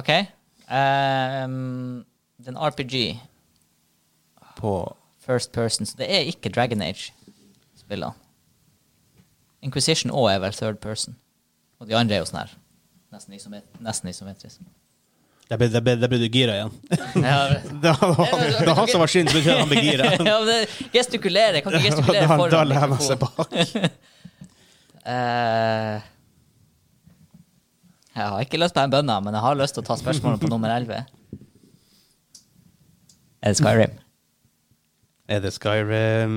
B: OK. Um, den RPG,
C: På
B: first person, så det er ikke Dragon Age-spillene. Inquisition òg er vel third person. Og de andre er jo sånn her. Nesten, isomet nesten isometrisk.
A: Da ble, da ble, da ble du gira igjen.
B: Ja,
A: Det var, det var han som var skinn, så betyr det at han ble gira.
B: ja, men det- gestikulere. Jeg kan ikke
A: Da,
B: gestikulere foran.
A: da lener han
B: mikrofon.
A: seg bak.
B: Eh, jeg har ikke lyst på en bønne, men jeg har lyst til å ta spørsmålet på nummer 11. Er det Skyrim?
A: Er det Skyrim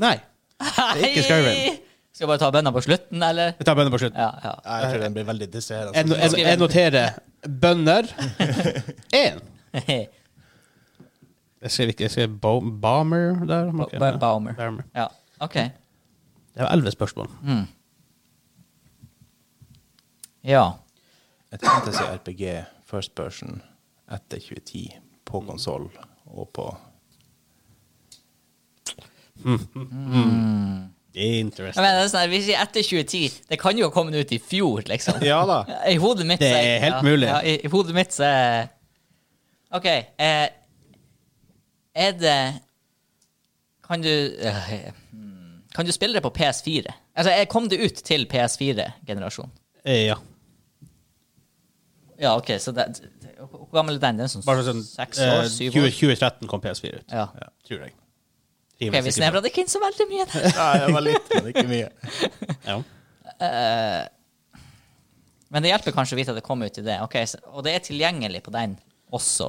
A: Nei. Det er ikke Skyrim.
B: Skal jeg bare ta bønna på slutten, eller?
A: Vi tar bønner på slutt.
B: Ja, ja.
C: Nei, Jeg tror den blir veldig distraherende.
A: Jeg, jeg, jeg noterer bønder én. Jeg skrev ikke jeg skrev bo Bomber der.
B: Ba-
A: Ok,
B: ba-
A: ja.
B: Baumer.
A: Baumer.
B: Ja, OK.
A: Det var elleve spørsmål.
B: Mm. Ja.
C: Et fantasy RPG first person etter 2010 på
B: Mm.
C: konsoll og på
B: Jeg
A: Interesting.
B: mener, det er sånn her, vi sier etter 2010. Det kan jo ha kommet ut i fjor, liksom.
A: Ja da.
B: I hodet mitt
A: Det
B: så
A: er helt mulig.
B: Ja, i, I hodet mitt så er- OK. Eh, er det Kan du eh, hmm, Kan du spille det på PS4? Altså, eh, kom det ut til PS4-generasjonen?
A: Ja.
B: Ja, OK, så det, det, Hvor gammel er den? Den er sånn
A: Bare sånn
B: seks
A: eh,
B: år? Syv
A: 20,
B: år?
A: 2013 kom PS4 ut.
B: Ja.
A: tror jeg.
B: Ok, vi snevra det ikke inn så veldig mye. der.
C: Nei, det var litt, men ikke mye.
A: Ja.
B: Men det hjelper kanskje å vite at det kom ut i det. Ok, så, og det er tilgjengelig på den også.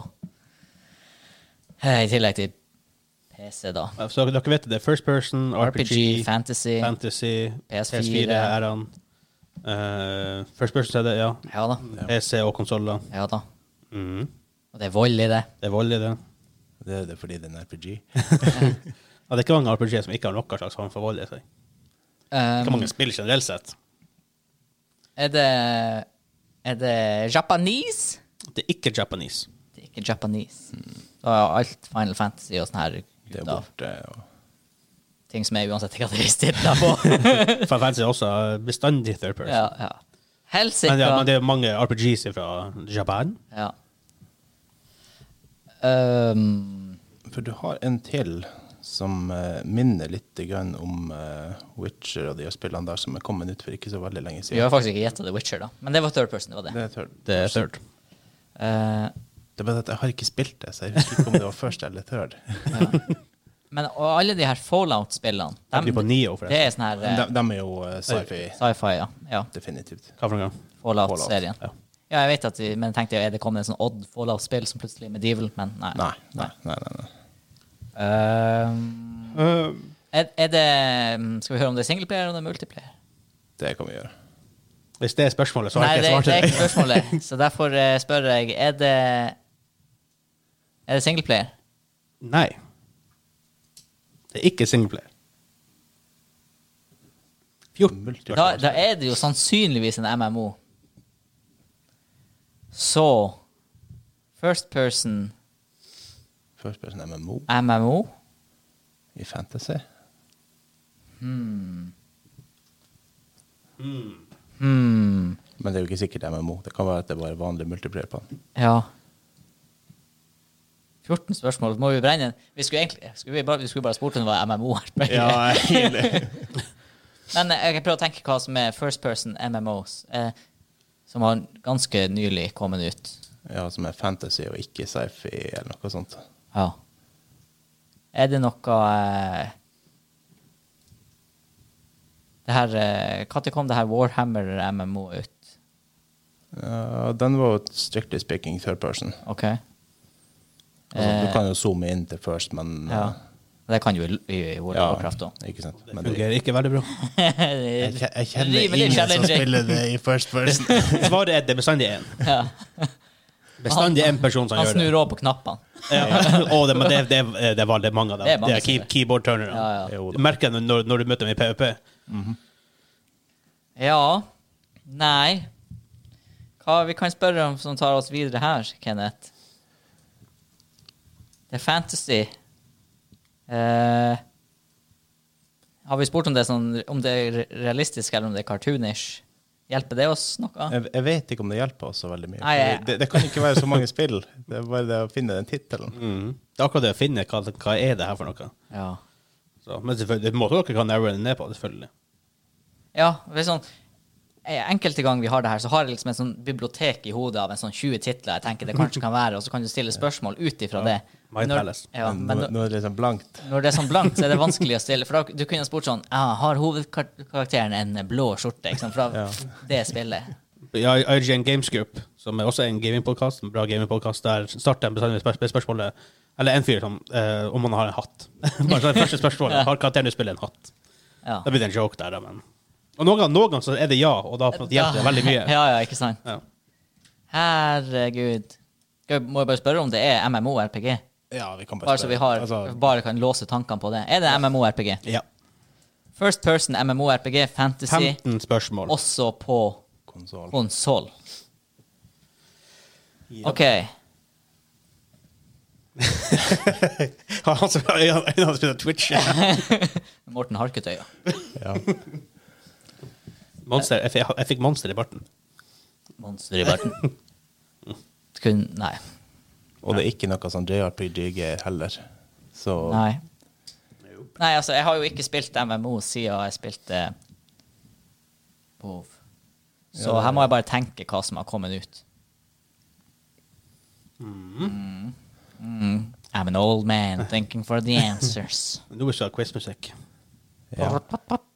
B: Eh, I tillegg til PC, da.
A: Så dere vet det. First person, RPG,
B: RPG, fantasy.
A: fantasy,
B: PS4.
A: PS4, er han. Eh, first person er det, ja.
B: Ja da.
A: PC og konsoller.
B: Ja da.
A: Mhm.
B: Og det er vold i det.
A: Det er vold i det.
C: Det er det fordi det er en RPG.
A: Ja, det er ikke mange RPG som ikke har noen slags form for vold i seg. Ikke
B: Um,
A: mange spill generelt sett.
B: er det Er det Japanese?
A: Det er ikke japanese.
B: Det er ikke Japanese. Da er alt Final Fantasy og sånne her
C: Det er eh,
B: da,
C: borte. Og...
B: ting som er uansett kategoristitler på.
A: Final Fantasy er også bestandig third person.
B: ja, ja. Helsike!
A: Men, ja, men det er mange RPGs fra Japan.
B: Ja. Um,
C: For du har en til som eh, minner litt grann om eh, Witcher og de spillene der som er kommet ut for ikke så veldig lenge
B: vi
C: siden.
B: har faktisk ikke gjetta The Witcher, da. Men det var third person. det var det.
C: Det er third.
A: Det er third.
B: Eh,
C: Det er bare at jeg har ikke spilt det, så jeg husker ikke om det var først eller third.
B: men og alle de her Fallout-spillene
A: Jeg blir på
B: dem-
A: Nio,
B: Det
A: forresten.
B: er sånn her
C: De,
B: eh,
C: de er jo eh, sci-fi,
B: sci-fi, ja. ja.
C: definitivt.
A: Hva for en gang?
B: Fallout-serien.
A: Ja.
B: Ja, jeg vet at de, men jeg tenkte er det kommet en sånn Odd Fallout-spill som plutselig er medieval, men nei.
C: Nei, nei, nei. nei, nei.
B: Ehm, er, er det mm, Skal vi høre om det er singleplayer eller om det er multiplayer?
C: Det kan vi gjøre.
A: Hvis det er spørsmålet, så
B: Nei,
A: har jeg ikke
B: det,
A: svart
B: det
A: til deg.
B: er ikke spørsmålet, så derfor eh, spør jeg Er det Er det singleplayer?
A: Nei. Det er ikke singleplayer. 14.
C: Multi-
B: Da, da er det jo sannsynligvis en MMO. Så First person
C: First person MMO
B: MMO.
C: i fantasy.
B: Hmm.
C: Men det er jo ikke sikkert MMO. Det kan være at det bare er vanlig multiplier på den.
B: Ja. 14 spørsmål. Må vi brenne en? Vi skulle egentlig skulle vi bare, vi skulle bare spurt om det var MMO her. Men eh, jeg kan prøve å tenke hva som er first person MMOs, eh, som har ganske nylig kommet ut.
C: Ja, som er fantasy og ikke sci-fi eller noe sånt.
B: Ja. Er det noe eh, det her, eh, Når kom det her Warhammer MMO ut?
C: Ja, den var jo strictly speaking third person.
B: OK?
C: Altså, du
B: Eh,
C: kan jo zoome inn til first, men
B: ja.
C: eh,
B: Det kan jo i, i World of Warcraft òg.
C: Ikke sant.
A: Det
C: Men det,
A: fungerer ikke veldig bra.
C: jeg, kje- jeg
B: Rimelig
C: kjenner ingen som
B: challenging.
C: spiller det i first person.
A: Svaret er det er bestandig én.
B: Ja.
A: Bestandig én person som
B: Han
A: gjør det.
B: snur òg på knappene.
A: Ja. Og det, men det, det, er- det er veldig mange av dem.
B: Det
A: Det
B: er
A: er,
B: mange som
A: key,
B: gjør det.
A: keyboard-turnere.
B: Ja, ja.
A: Du merker det når, når du møter dem i PVP.
B: Ja. Nei. Hva vi kan spørre om som tar oss videre her, Kenneth? Det er fantasy. Eh, har vi spurt om det, er sånn, om det er realistisk eller om det er cartoonish? Hjelper det oss noe?
C: Jeg, jeg vet ikke om det hjelper oss så veldig mye.
B: Nei, jeg-
C: for Det, det kan ikke være så mange spill. Det er bare det å finne den tittelen.
A: Det er akkurat det å finne hva, hva er det her for noe.
B: Ja.
A: Så, men selvfølgelig, det er en måte dere kan narrowe det ned på, selvfølgelig.
B: Ja, det er sånn eh, enkelte ganger vi har det her, så har jeg liksom en sånn bibliotek i hodet av en sånn 20 titler jeg tenker det kanskje kan være, og så kan du stille spørsmål ut ifra det.
A: My
B: Men når-
A: palace.
B: Ja,
C: Men
B: men
C: nå,
B: når-
C: nå er det liksom blankt.
B: når det er sånn blankt, så er det vanskelig å stille. For da, du kunne spurt sånn ah, Har hovedkarakteren en blå skjorte? Ikke sant? Fra det spillet.
A: Ja, IGN Games Group, som er også en gamingpodkast, en bra gamingpodkast, der starter en bestandig med spør- med spørsmålet Eller en fyr som eh, om han har en hatt. Bare sånn første spørsmål. Har karakteren du spiller, en hatt?
B: Ja.
A: Da blir det en joke der, da, men Og noen ganger, noen ganger så er det ja, og da på en måte hjelper det veldig mye.
B: Ja, ja, ikke sant.
A: Ja.
B: Herregud. Skal vi- Må jeg bare spørre om det er MMO-RPG?
C: Ja, vi kan
B: Bare så vi har,
A: Altså-
B: bare kan låse tankene på det. Er det MMO-RPG?
A: ja.
B: First person MMO-RPG, fantasy,
A: 15 spørsmål.
B: også på
C: Konsol.
B: konsoll.
A: Ja.
B: OK.
A: Har han som øynene hans begynner å twitche?
B: Morten Harketøya.
C: Ja.
A: Monster, jeg, fikk- jeg fikk monster i barten.
B: Monster i verden. Kun Nei.
C: Og det er ikke noe sånn JRPG heller. Så
B: Nei. Nei, altså, jeg har jo ikke spilt MMO siden jeg spilte WoW. Så her må jeg bare tenke hva som har kommet ut. Mm. Mm. I'm an old man thinking for the answers.
A: Nå skal jeg ha quizmusikk.
C: ja.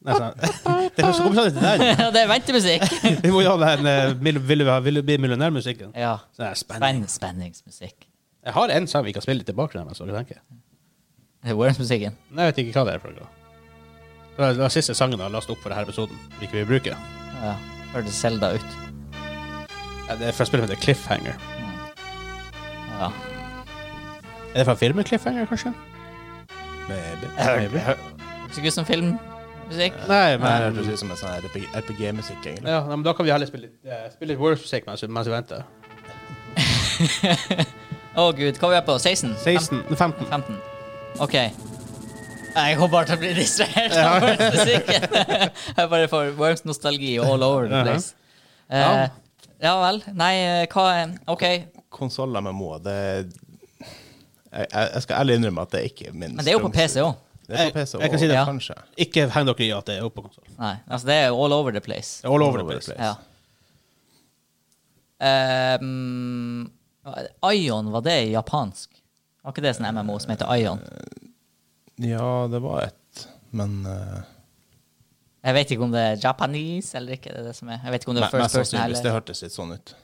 A: Nei, sånn. Det er kommer sånn til den.
B: Ja, det er ventemusikk!
A: Vi må jo ha den eh, vil, vil, du ha- vil du bli millionærmusikken.
B: Ja.
A: Sånn her spenning.
B: Spenn spenningsmusikk.
A: Jeg har en sang vi kan spille tilbake til. Så jeg tenker.
B: Det er Worms-musikken.
A: Nei, jeg vet ikke hva det er. for noe. Det var- Det var siste sangen jeg har last opp for denne episoden. Vi ikke vil bruke.
B: Ja. Hørtes Selda ut.
A: Ja, det er fra spillet med The Cliffhanger.
B: Ja.
A: Er det fra filmen Cliffhanger, kanskje?
C: Maybe.
B: Høres ikke ut som filmmusikk.
A: Nei,
C: Nei, det
A: men
C: høres ut som en sånn RPG-musikk, egentlig.
A: ja, nei, men da kan vi heller spille, litt, eh, spille litt Worms-musikk mens, mens vi venter.
B: Å gud, hva er vi på? 16?
A: 16, 15.
B: 15. OK. Jeg går bare til å bli distrahert av Worms-musikken. Jeg bare får Worms-nostalgi all over the place.
A: Ja.
B: Eh, ja vel. Nei, eh, hva er OK.
C: Konsoller med må, det jeg, jeg jeg skal ærlig innrømme at det er ikke min
B: Men det er jo på PC òg.
C: Det er på PC
A: Jeg- jeg kan si det.
C: også, kanskje.
A: Ikke heng dere i at det er oppe på konsoll.
B: Nei, altså det er jo all over the place.
A: All over the place.
B: Ja. Um, Ion, var det japansk? Var ikke det sånn MMO som heter Ion?
C: Ja, det var et Men eh,
B: Jeg vet ikke om det er japanese eller ikke. det er det som er. Jeg vet ikke om det
C: me-
B: er first
C: mest
B: person
C: sannsynlig. Det
B: heller.
C: hørtes litt sånn ut.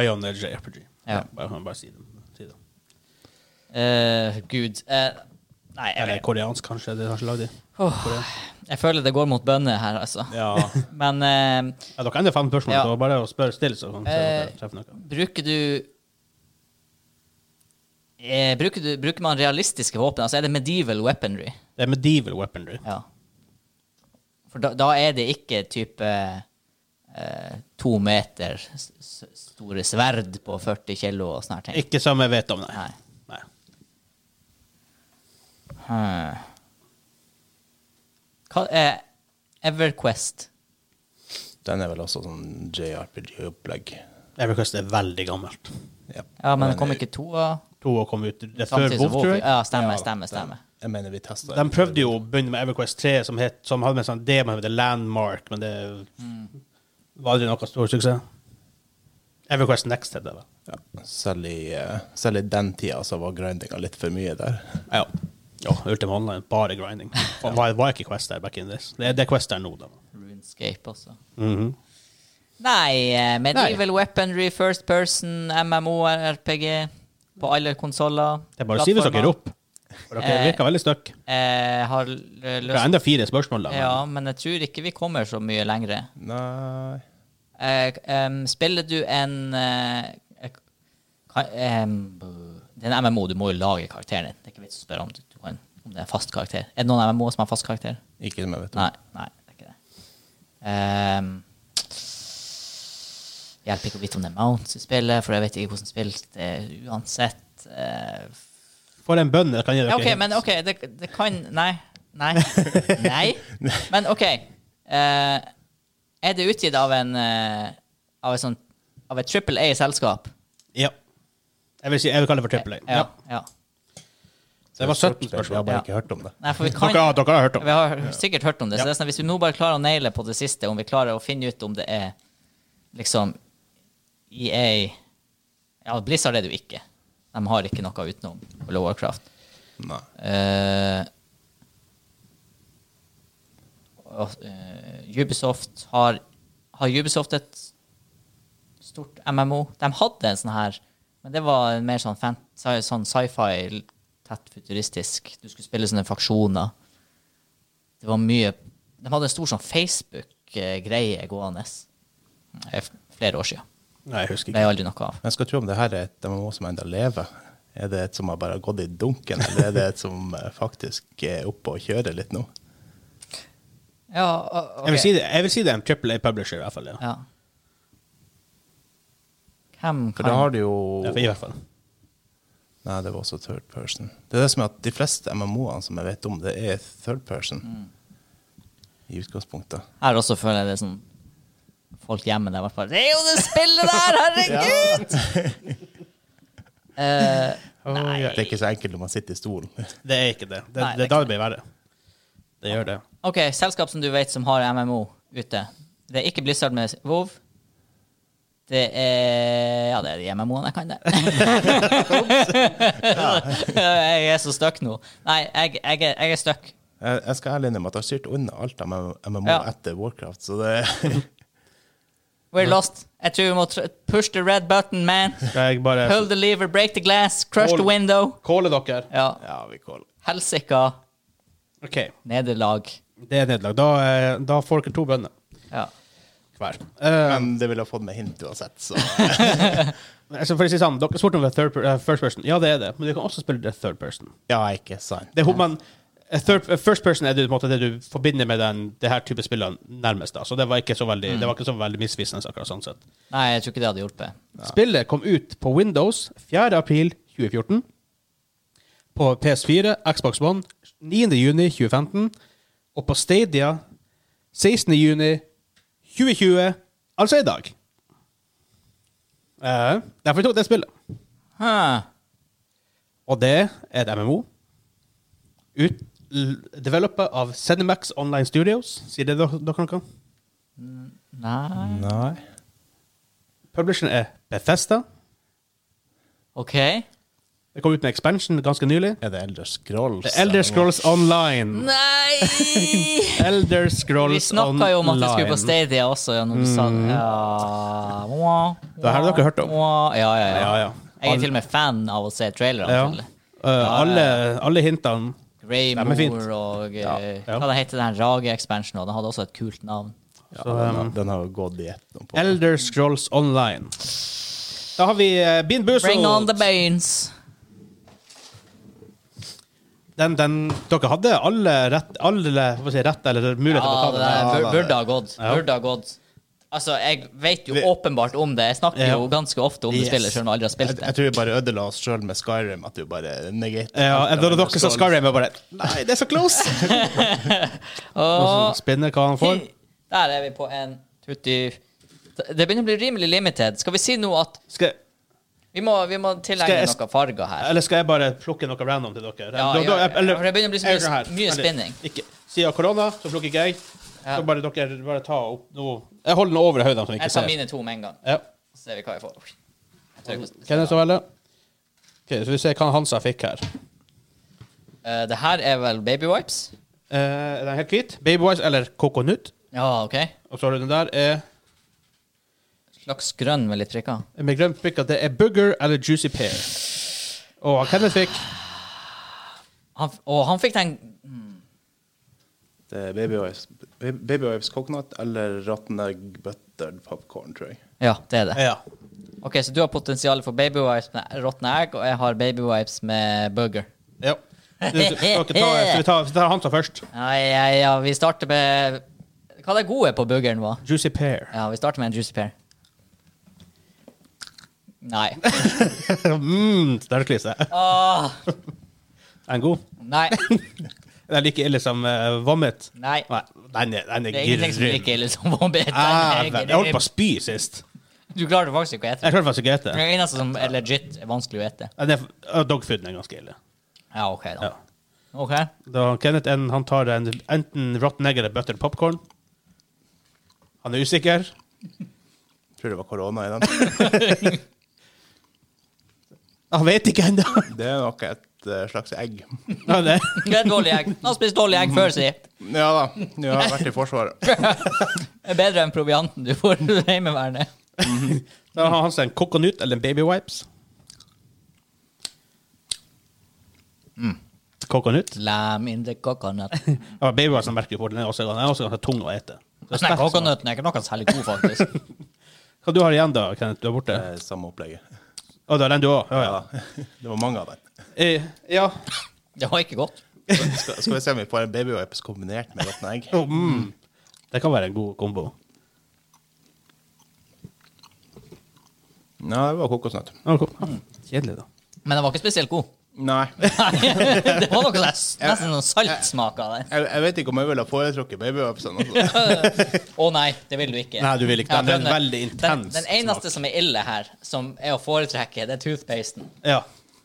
A: Ion eller JRPG.
B: Ja.
A: Bare, kan bare si det. Si det.
B: Eh, Gud. eh, nei, jeg,
A: Eller
B: vet-
A: koreansk, kanskje. Det er kanskje lagd i.
B: jeg føler det går mot bønner her, altså.
C: Ja.
B: Men eh,
A: Ja, dere har enda fem spørsmål,
B: Ja.
A: så bare å spørre stille, så kan vi se om
B: Eh.
A: dere treffer noe.
B: bruker du Eh, bruker, du, bruker man realistiske våpen? Altså er det medieval weaponry?
A: Det er medieval weaponry.
B: Ja. For da, da er det ikke type eh, to meter s s store sverd på 40 kilo og sånne her ting.
A: Ikke som jeg vet om, nei.
B: Nei.
A: nei.
B: Hmm. Hva er EverQuest?
C: Den er vel også sånn JRPG-opplegg.
A: Everquest er veldig gammelt.
C: Ja,
B: Ja, men
C: Den
B: det kom
C: er-
B: ikke to av
A: To år kom ut det er før
B: samtidig som
A: WoW, tror jeg.
B: Ja, stemmer,
C: Ja,
B: stemmer, stemmer.
C: Jeg mener vi testa
A: De prøvde jo å begynne med Everquest 3, som, het, som hadde med sånn det man heter Landmark, men det
B: Mm.
A: var aldri noe stor suksess. Everquest Next heter det.
C: ja. selv, i, eh, selv i den tida så var grindinga litt for mye der.
A: Ja. Ja, Ultima Online, bare grinding. Det var, var ikke Quest der back in this. Det er, det er Quest der nå, da.
B: RuneScape også.
A: Mhm.
B: Nei, eh, medieval weaponry, first person, MMORPG på alle konsoller.
A: Det er bare å si hvis dere er
B: plattformer.
A: opp. For dere virker veldig stuck.
B: Eh, har l-
A: Det er
B: lyst
A: enda fire spørsmål, da. men-
B: Ja, men jeg tror ikke vi kommer så mye lenger.
C: Nei
B: Eh, em, spiller du en eh, eh, ka- em, buh. Det er en MMO, du må jo lage karakteren din. Det er ikke vits å spørre om, du, du kan, om det er fast karakter. Er det noen MMO som har fast karakter?
C: Ikke som jeg vet om.
B: Nei, nei, det er ikke det. Ehm, hjelper ikke å vite om det er Mounts i spillet, for jeg vet ikke hvordan spilt det er uansett. Eh,
A: For en bønn jeg kan gi dere
B: ja, OK,
A: hints.
B: men OK, det, det kan Nei. Nei. nei. Men OK. eh, er det utgitt av en eh, Av et sånt Av et trippel A-selskap?
A: Ja. Jeg vil, si, jeg vil kalle det for triple A.
B: Ja, ja.
A: Det var 17 spørsmål.
C: Jeg har bare
B: Ja.
C: ikke hørt om det.
B: Nei, for vi kan
A: Dere, dere har hørt om
B: Vi har sikkert hørt om det. Så det er sånn, at hvis vi nå bare klarer å naile på det siste, om vi klarer å finne ut om det er liksom EA Ja, Blizzard er det jo ikke. De har ikke noe utenom World of Warcraft.
C: Nei.
B: Eh, og, eh, Ubisoft har Har Ubisoft et stort MMO? De hadde en sånn her, men det var en mer sånn, fan- sci- sånn sci-fi, tett futuristisk. Du skulle spille sånne faksjoner. Det var mye De hadde en stor sånn Facebook-greie gående eh, f- flere år siden.
C: Nei, jeg husker
B: Det
C: ikke.
B: ble aldri noe av.
C: Jeg skal tro om det her er et MMO som enda lever. Er det et som har bare gått i dunken, eller er det et som eh, faktisk er oppe og kjører litt nå?
B: Ja,
A: Jeg vil si det, jeg vil si det er en triple A-publisher, i hvert fall. Ja.
B: Ja. Hvem
C: For da
B: kan
C: har du jo
A: Ja, I hvert fall.
C: Nei, det var også third person. Det er det som er at de fleste MMO-ene som jeg vet om, det er third person. I utgangspunktet.
B: Her også føler jeg det er sånn Folk hjemme der i hvert fall Det er jo det spillet der, herregud! Eh,
C: Nei. Det er ikke så enkelt når man sitter i stolen.
A: Det er ikke det. Det,
B: Nei,
A: det
B: det
A: er da det blir verre. Det gjør det.
B: ok, selskap som du vet som har MMO ute. Det er ikke Blizzard med WoW. Det er Ja, det er de MMO-ene jeg kan, det. jeg er så stuck nå. Nei, jeg, jeg, er- jeg er stuck.
C: Jeg, jeg skal ærlig innrømme at jeg har styrt unna alt av MMO
B: Ja.
C: etter Warcraft, så det
B: We're lost. Jeg tror vi må tr push the red button, man.
A: Skal jeg bare
B: Pull the lever, break the glass, crush the window.
A: calle dere?
B: Ja.
C: Ja, vi kåler.
B: Helsika.
A: OK.
B: Nederlag.
A: Det er nederlag. Da, eh, da får dere to bønder
B: Ja.
A: hver. Eh,
C: Men det ville ha fått meg hint uansett, så
A: altså for å si det sånn, dere spurte om det er third, per- eh, first person. Ja, det er det, men du kan også spille det third person.
C: Ja, ikke sant.
A: Det er, hvor man, eh, third, eh, first person er det, på en måte, det du forbinder med den, det her type spillene nærmest. Da. Så det var ikke så veldig, det var ikke så veldig misvisende. akkurat sånn sett.
B: Nei, jeg tror ikke det hadde hjulpet.
A: Spillet kom ut på Windows 4. april 2014. På PS4, Xbox One 9. juni 2015. Og på Stadia 16. juni 2020, altså i dag. Eh, derfor tok det spillet.
B: Huh.
A: Og det er et MMO. Ut, l- developet av Cinemax Online Studios. Sier det dere dere noe?
B: Nei
C: Nei.
A: Publisheren er Bethesda.
B: OK.
A: Det kom ut med expansion ganske nylig.
C: Er det Elder Scrolls?
A: The Elder Scrolls Online.
B: Nei!
A: Elder
B: Vi
A: Scrolls Online. Mm.
B: snakka jo om at vi skulle på Stadia også, ja, når du sa det. Ja. Mwah,
A: Det her har dere hørt om.
B: mwah. Ja, ja, ja.
A: Ja, ja.
B: Jeg er til og med fan av å se trailerne
A: Ja.
B: til det.
A: Uh, alle, alle hintene
B: Grey
A: men fint.
B: Moor og eh,
A: ja.
B: Hva det heter den Rage-expansionen? Den hadde også et kult navn.
C: Ja, den,
A: um,
C: har, den har gått i ett nå. på.
A: Elder Scrolls Online. Da har vi uh, Bean Boozled.
B: Bring on the banes!
A: Den, den, dere hadde alle rett, alle, hva skal jeg si, rett eller mulighet til å
B: Ja,
A: ta
B: det
A: den.
B: der
C: Ja,
B: bur-
C: det-
B: burde ha gått.
A: Ja.
B: Burde ha gått. Altså, jeg vet jo
C: Vi-
B: åpenbart om det. Jeg snakker
A: Ja.
B: jo ganske ofte om det
C: Yes.
B: spillet, selv om jeg aldri har
C: Jeg,
B: spilt det.
C: jeg tror vi bare ødela oss sjøl med Skyrim. At vi bare negater.
A: Ja,
C: alt
A: da
C: av Elder
A: dere sa
C: Scrolls.
A: Skyrim, jeg bare Nei, det er så close! Og så spinner hva han får.
B: Der er vi på en tutti... Det begynner å bli rimelig limited. Skal vi si nå at
A: Skal,
B: vi må, vi må tilhenge
A: Skal jeg-
B: noen farger her?
A: eller skal jeg bare plukke noe random til dere?
B: Ja,
A: Da- da-
B: ja, ja,
A: eller-
B: for det begynner å bli så mye-
A: jeg gjør sånn her.
B: mye
A: Eller,
B: spinning.
A: Ikke, siden av korona, så plukker ikke jeg.
B: Ja.
A: Så bare dere bare ta opp noe Jeg holder den over høydene, så vi ikke
B: Jeg tar
A: ser.
B: mine to med en gang,
A: Ja.
B: så ser vi hva jeg får. Jeg tør ikke å-
A: Kenneth skal velge. Ok, så vi ser hva Hansa fikk her.
B: Eh, det her er vel baby wipes?
A: Eh, er den helt hvit? Babywise eller kokonut.
B: Ja, OK.
A: Og så har du den der Eh, er
B: Slags grønn med litt prikker.
A: med grønt prikk at det er booger eller juicy pear. Og Kenneth fikk
B: Han, f- og han fikk den
C: Det er Baby Wives- Baby Wives Coconut eller Rotten Egg Buttered Popcorn, tror jeg.
B: Ja, det er det.
A: Ja.
B: Ok, så du har potensial for baby wipes med råtne egg, og jeg har baby wipes med burger.
A: ja. Du, du, dere tar- så vi tar, vi tar Hansa først.
B: Ja, ja, ja, vi starter med Hva det gode på burgeren var?
A: Juicy pear.
B: Ja, vi starter med en juicy pear. Nei.
A: mm, Sterklise.
B: Åh,
A: Er den god?
B: nei.
A: Den er like ille som uh, vommet.
B: Nei.
A: Nei, den er, den er
B: Det er ingenting som liksom er
A: grim.
B: like ille som vomit. Den
A: Ah,
B: er
A: vel, jeg holdt på å
B: grim.
A: spy sist.
B: Du klarer det faktisk ikke å ete.
A: Jeg klarte faktisk ikke å ete.
B: Det eneste som er legit er vanskelig å ete.
A: Den er- ja, Dogfooden er ganske ille.
B: Ja, OK, da.
A: Ja.
B: OK.
A: Da Kenneth en, han tar en, enten rotten egg eller butter popcorn. Han er usikker.
C: Tror det var korona i den.
A: Han vet ikke ennå.
C: Det er nok et eh, slags egg.
A: Ja, det-
B: Det er dårlig egg. Han spiste dårlig egg før, si.
C: Ja da, jeg har vært i Forsvaret.
B: Det er bedre enn provianten du får i Heimevernet.
A: Da har han seg en coconut eller en baby wipes. Coconut?
B: Lam in the coconut.
A: Ja, baby wipes er merkelig for den er også, den er også ganske tung å ete. Det er
B: Den
A: sterk smak.
B: coconuten er ikke noe særlig god, faktisk.
A: Hva du har igjen da, Kenneth? Du er borte?
C: Eh, Samme opplegget.
A: Å, det er den du òg? Ja, ja.
C: Ja, det var mange av dem.
A: Eh, ja.
B: Det var ikke godt.
C: Skal, skal vi se om vi får en babywipes kombinert med råtne egg?
A: Å, mm. Det kan være en god kombo.
C: Ja, det var kokosnøtt.
A: Ja, kom.
B: Mm.
A: Kjedelig, da.
B: Men den var ikke spesielt god.
C: Nei.
B: det var noe sånn, nesten sånn saltsmak av den.
C: Jeg, jeg vet ikke om jeg ville ha foretrukket babywipesene. altså.
B: Å nei, det vil du ikke.
A: Nei, du vil ikke.
B: Jeg har
A: Den er
B: prøvd
A: veldig intens
B: Den, den eneste som er ille her, som er å foretrekke, det er toothpasten.
A: Ja.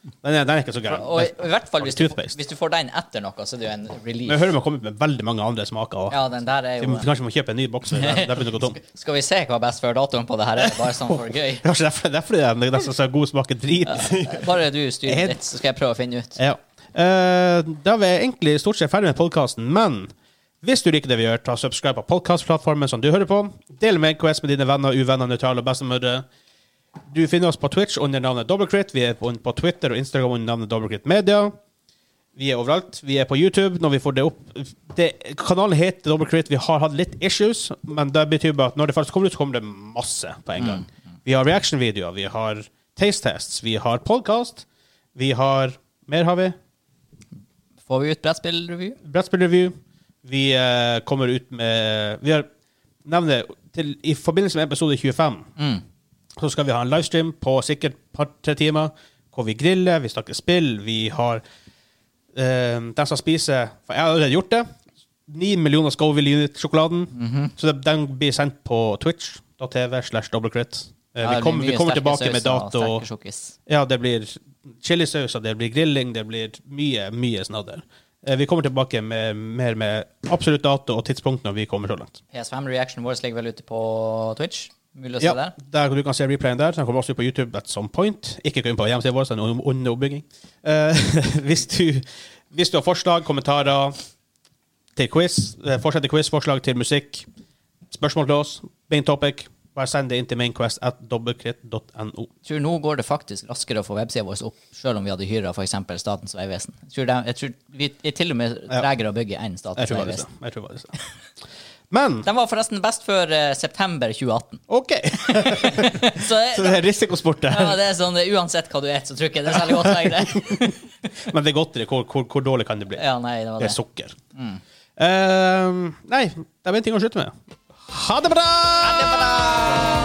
A: Den er, den er ikke så gæren.
B: Og i, i hvert fall hvis du,
A: Toothpaste.
B: hvis du får den etter noe, så er det jo en
A: Men jeg hører
B: relief.
A: de har kommet med veldig mange andre smaker. også.
B: Ja, den der er
A: Vi
B: jo
A: må, kanskje må kjøpe en ny boks. for Den den begynner å gå tom.
B: Skal vi se hva best før datoen på det her er, bare sånn for gøy?
A: Kanskje derfor, derfor er den nesten så god smaker drit.
B: Bare du styrer litt, så skal jeg prøve å finne ut.
A: Ja. Eh, da er vi egentlig stort sett ferdig med podkasten, men hvis du liker det vi gjør, ta subscribe på podkastplattformen som du hører på. Del med NKS med dine venner, uvenner, nøytrale og bestemødre. Du finner oss på Twitch under navnet Dobbelkrit. Vi er på, på Twitter og Instagram under navnet Dobbelkrit Media. Vi er overalt. Vi er på YouTube når vi får det opp. Det, kanalen heter Dobbelkrit. Vi har hatt litt issues, men det betyr bare at når det faktisk kommer ut, så kommer det masse på en gang. Vi har reaction-videoer, vi har taste tests, vi har podkast, vi har Mer har vi.
B: Får vi ut brettspillrevy?
A: Eh, Brettspillreview. Vi eh, kommer ut med Vi har nevner til, I forbindelse med episode 25
B: Mm.
A: så skal vi ha en livestream på sikkert par-tre timer, hvor vi griller, vi snakker spill, vi har eh, Den som spiser For jeg har allerede gjort det. Ni millioner Scoville Unit-sjokoladen.
B: Mhm.
A: Så det, den blir sendt på Twitch. Da TV slash dobbeltkritt. Eh,
B: Ja,
A: vi
B: det blir
A: kommer, vi
B: mye
A: kommer
B: sterke
A: tilbake med
B: sauser og
A: dato.
B: sterke sjokkis.
A: Ja, det blir chilisauser, det blir grilling, det blir mye, mye snadder. Eh, Vi kommer tilbake med mer med absolutt dato og tidspunkt når vi kommer så langt.
B: PS5-reactionen vår ligger vel ute på Twitch. Mulig å se
A: Ja,
B: der.
A: der Du kan se replayen der. Den kommer også ut på YouTube at some point. Ikke gå inn på hjemmesiden vår, så den er under- under oppbygging. Eh, hvis, du, hvis du har forslag, kommentarer til quiz, eh, fortsett til quiz, forslag til musikk, spørsmål til oss, main topic, bare send det inn til mainquest at dobbeltkritt.no.
B: Jeg tror nå går det faktisk raskere å få websida vår opp, selv om vi hadde hyra f.eks. Statens vegvesen. Jeg tror, det, jeg tror vi er til og med tregere å bygge enn
A: Jeg
B: Statens
A: tror det var det.
B: vegvesen.
A: jeg tror det var det. Men
B: Den var forresten best før eh, september 2018.
A: OK!
B: Så
A: Så
B: det,
A: det er risikosport, det.
B: ja, det er sånn, eh, uansett hva du spiser, så tror jeg ikke det er særlig godt lenger.
A: Men det er godt. det. Hvor, hvor, hvor dårlig kan det bli?
B: Ja, nei, det var
A: Det Mm. er
B: det.
A: sukker. Ehm, Eh, nei, det er en ting å slutte med. Ha det bra!
B: Ha det bra!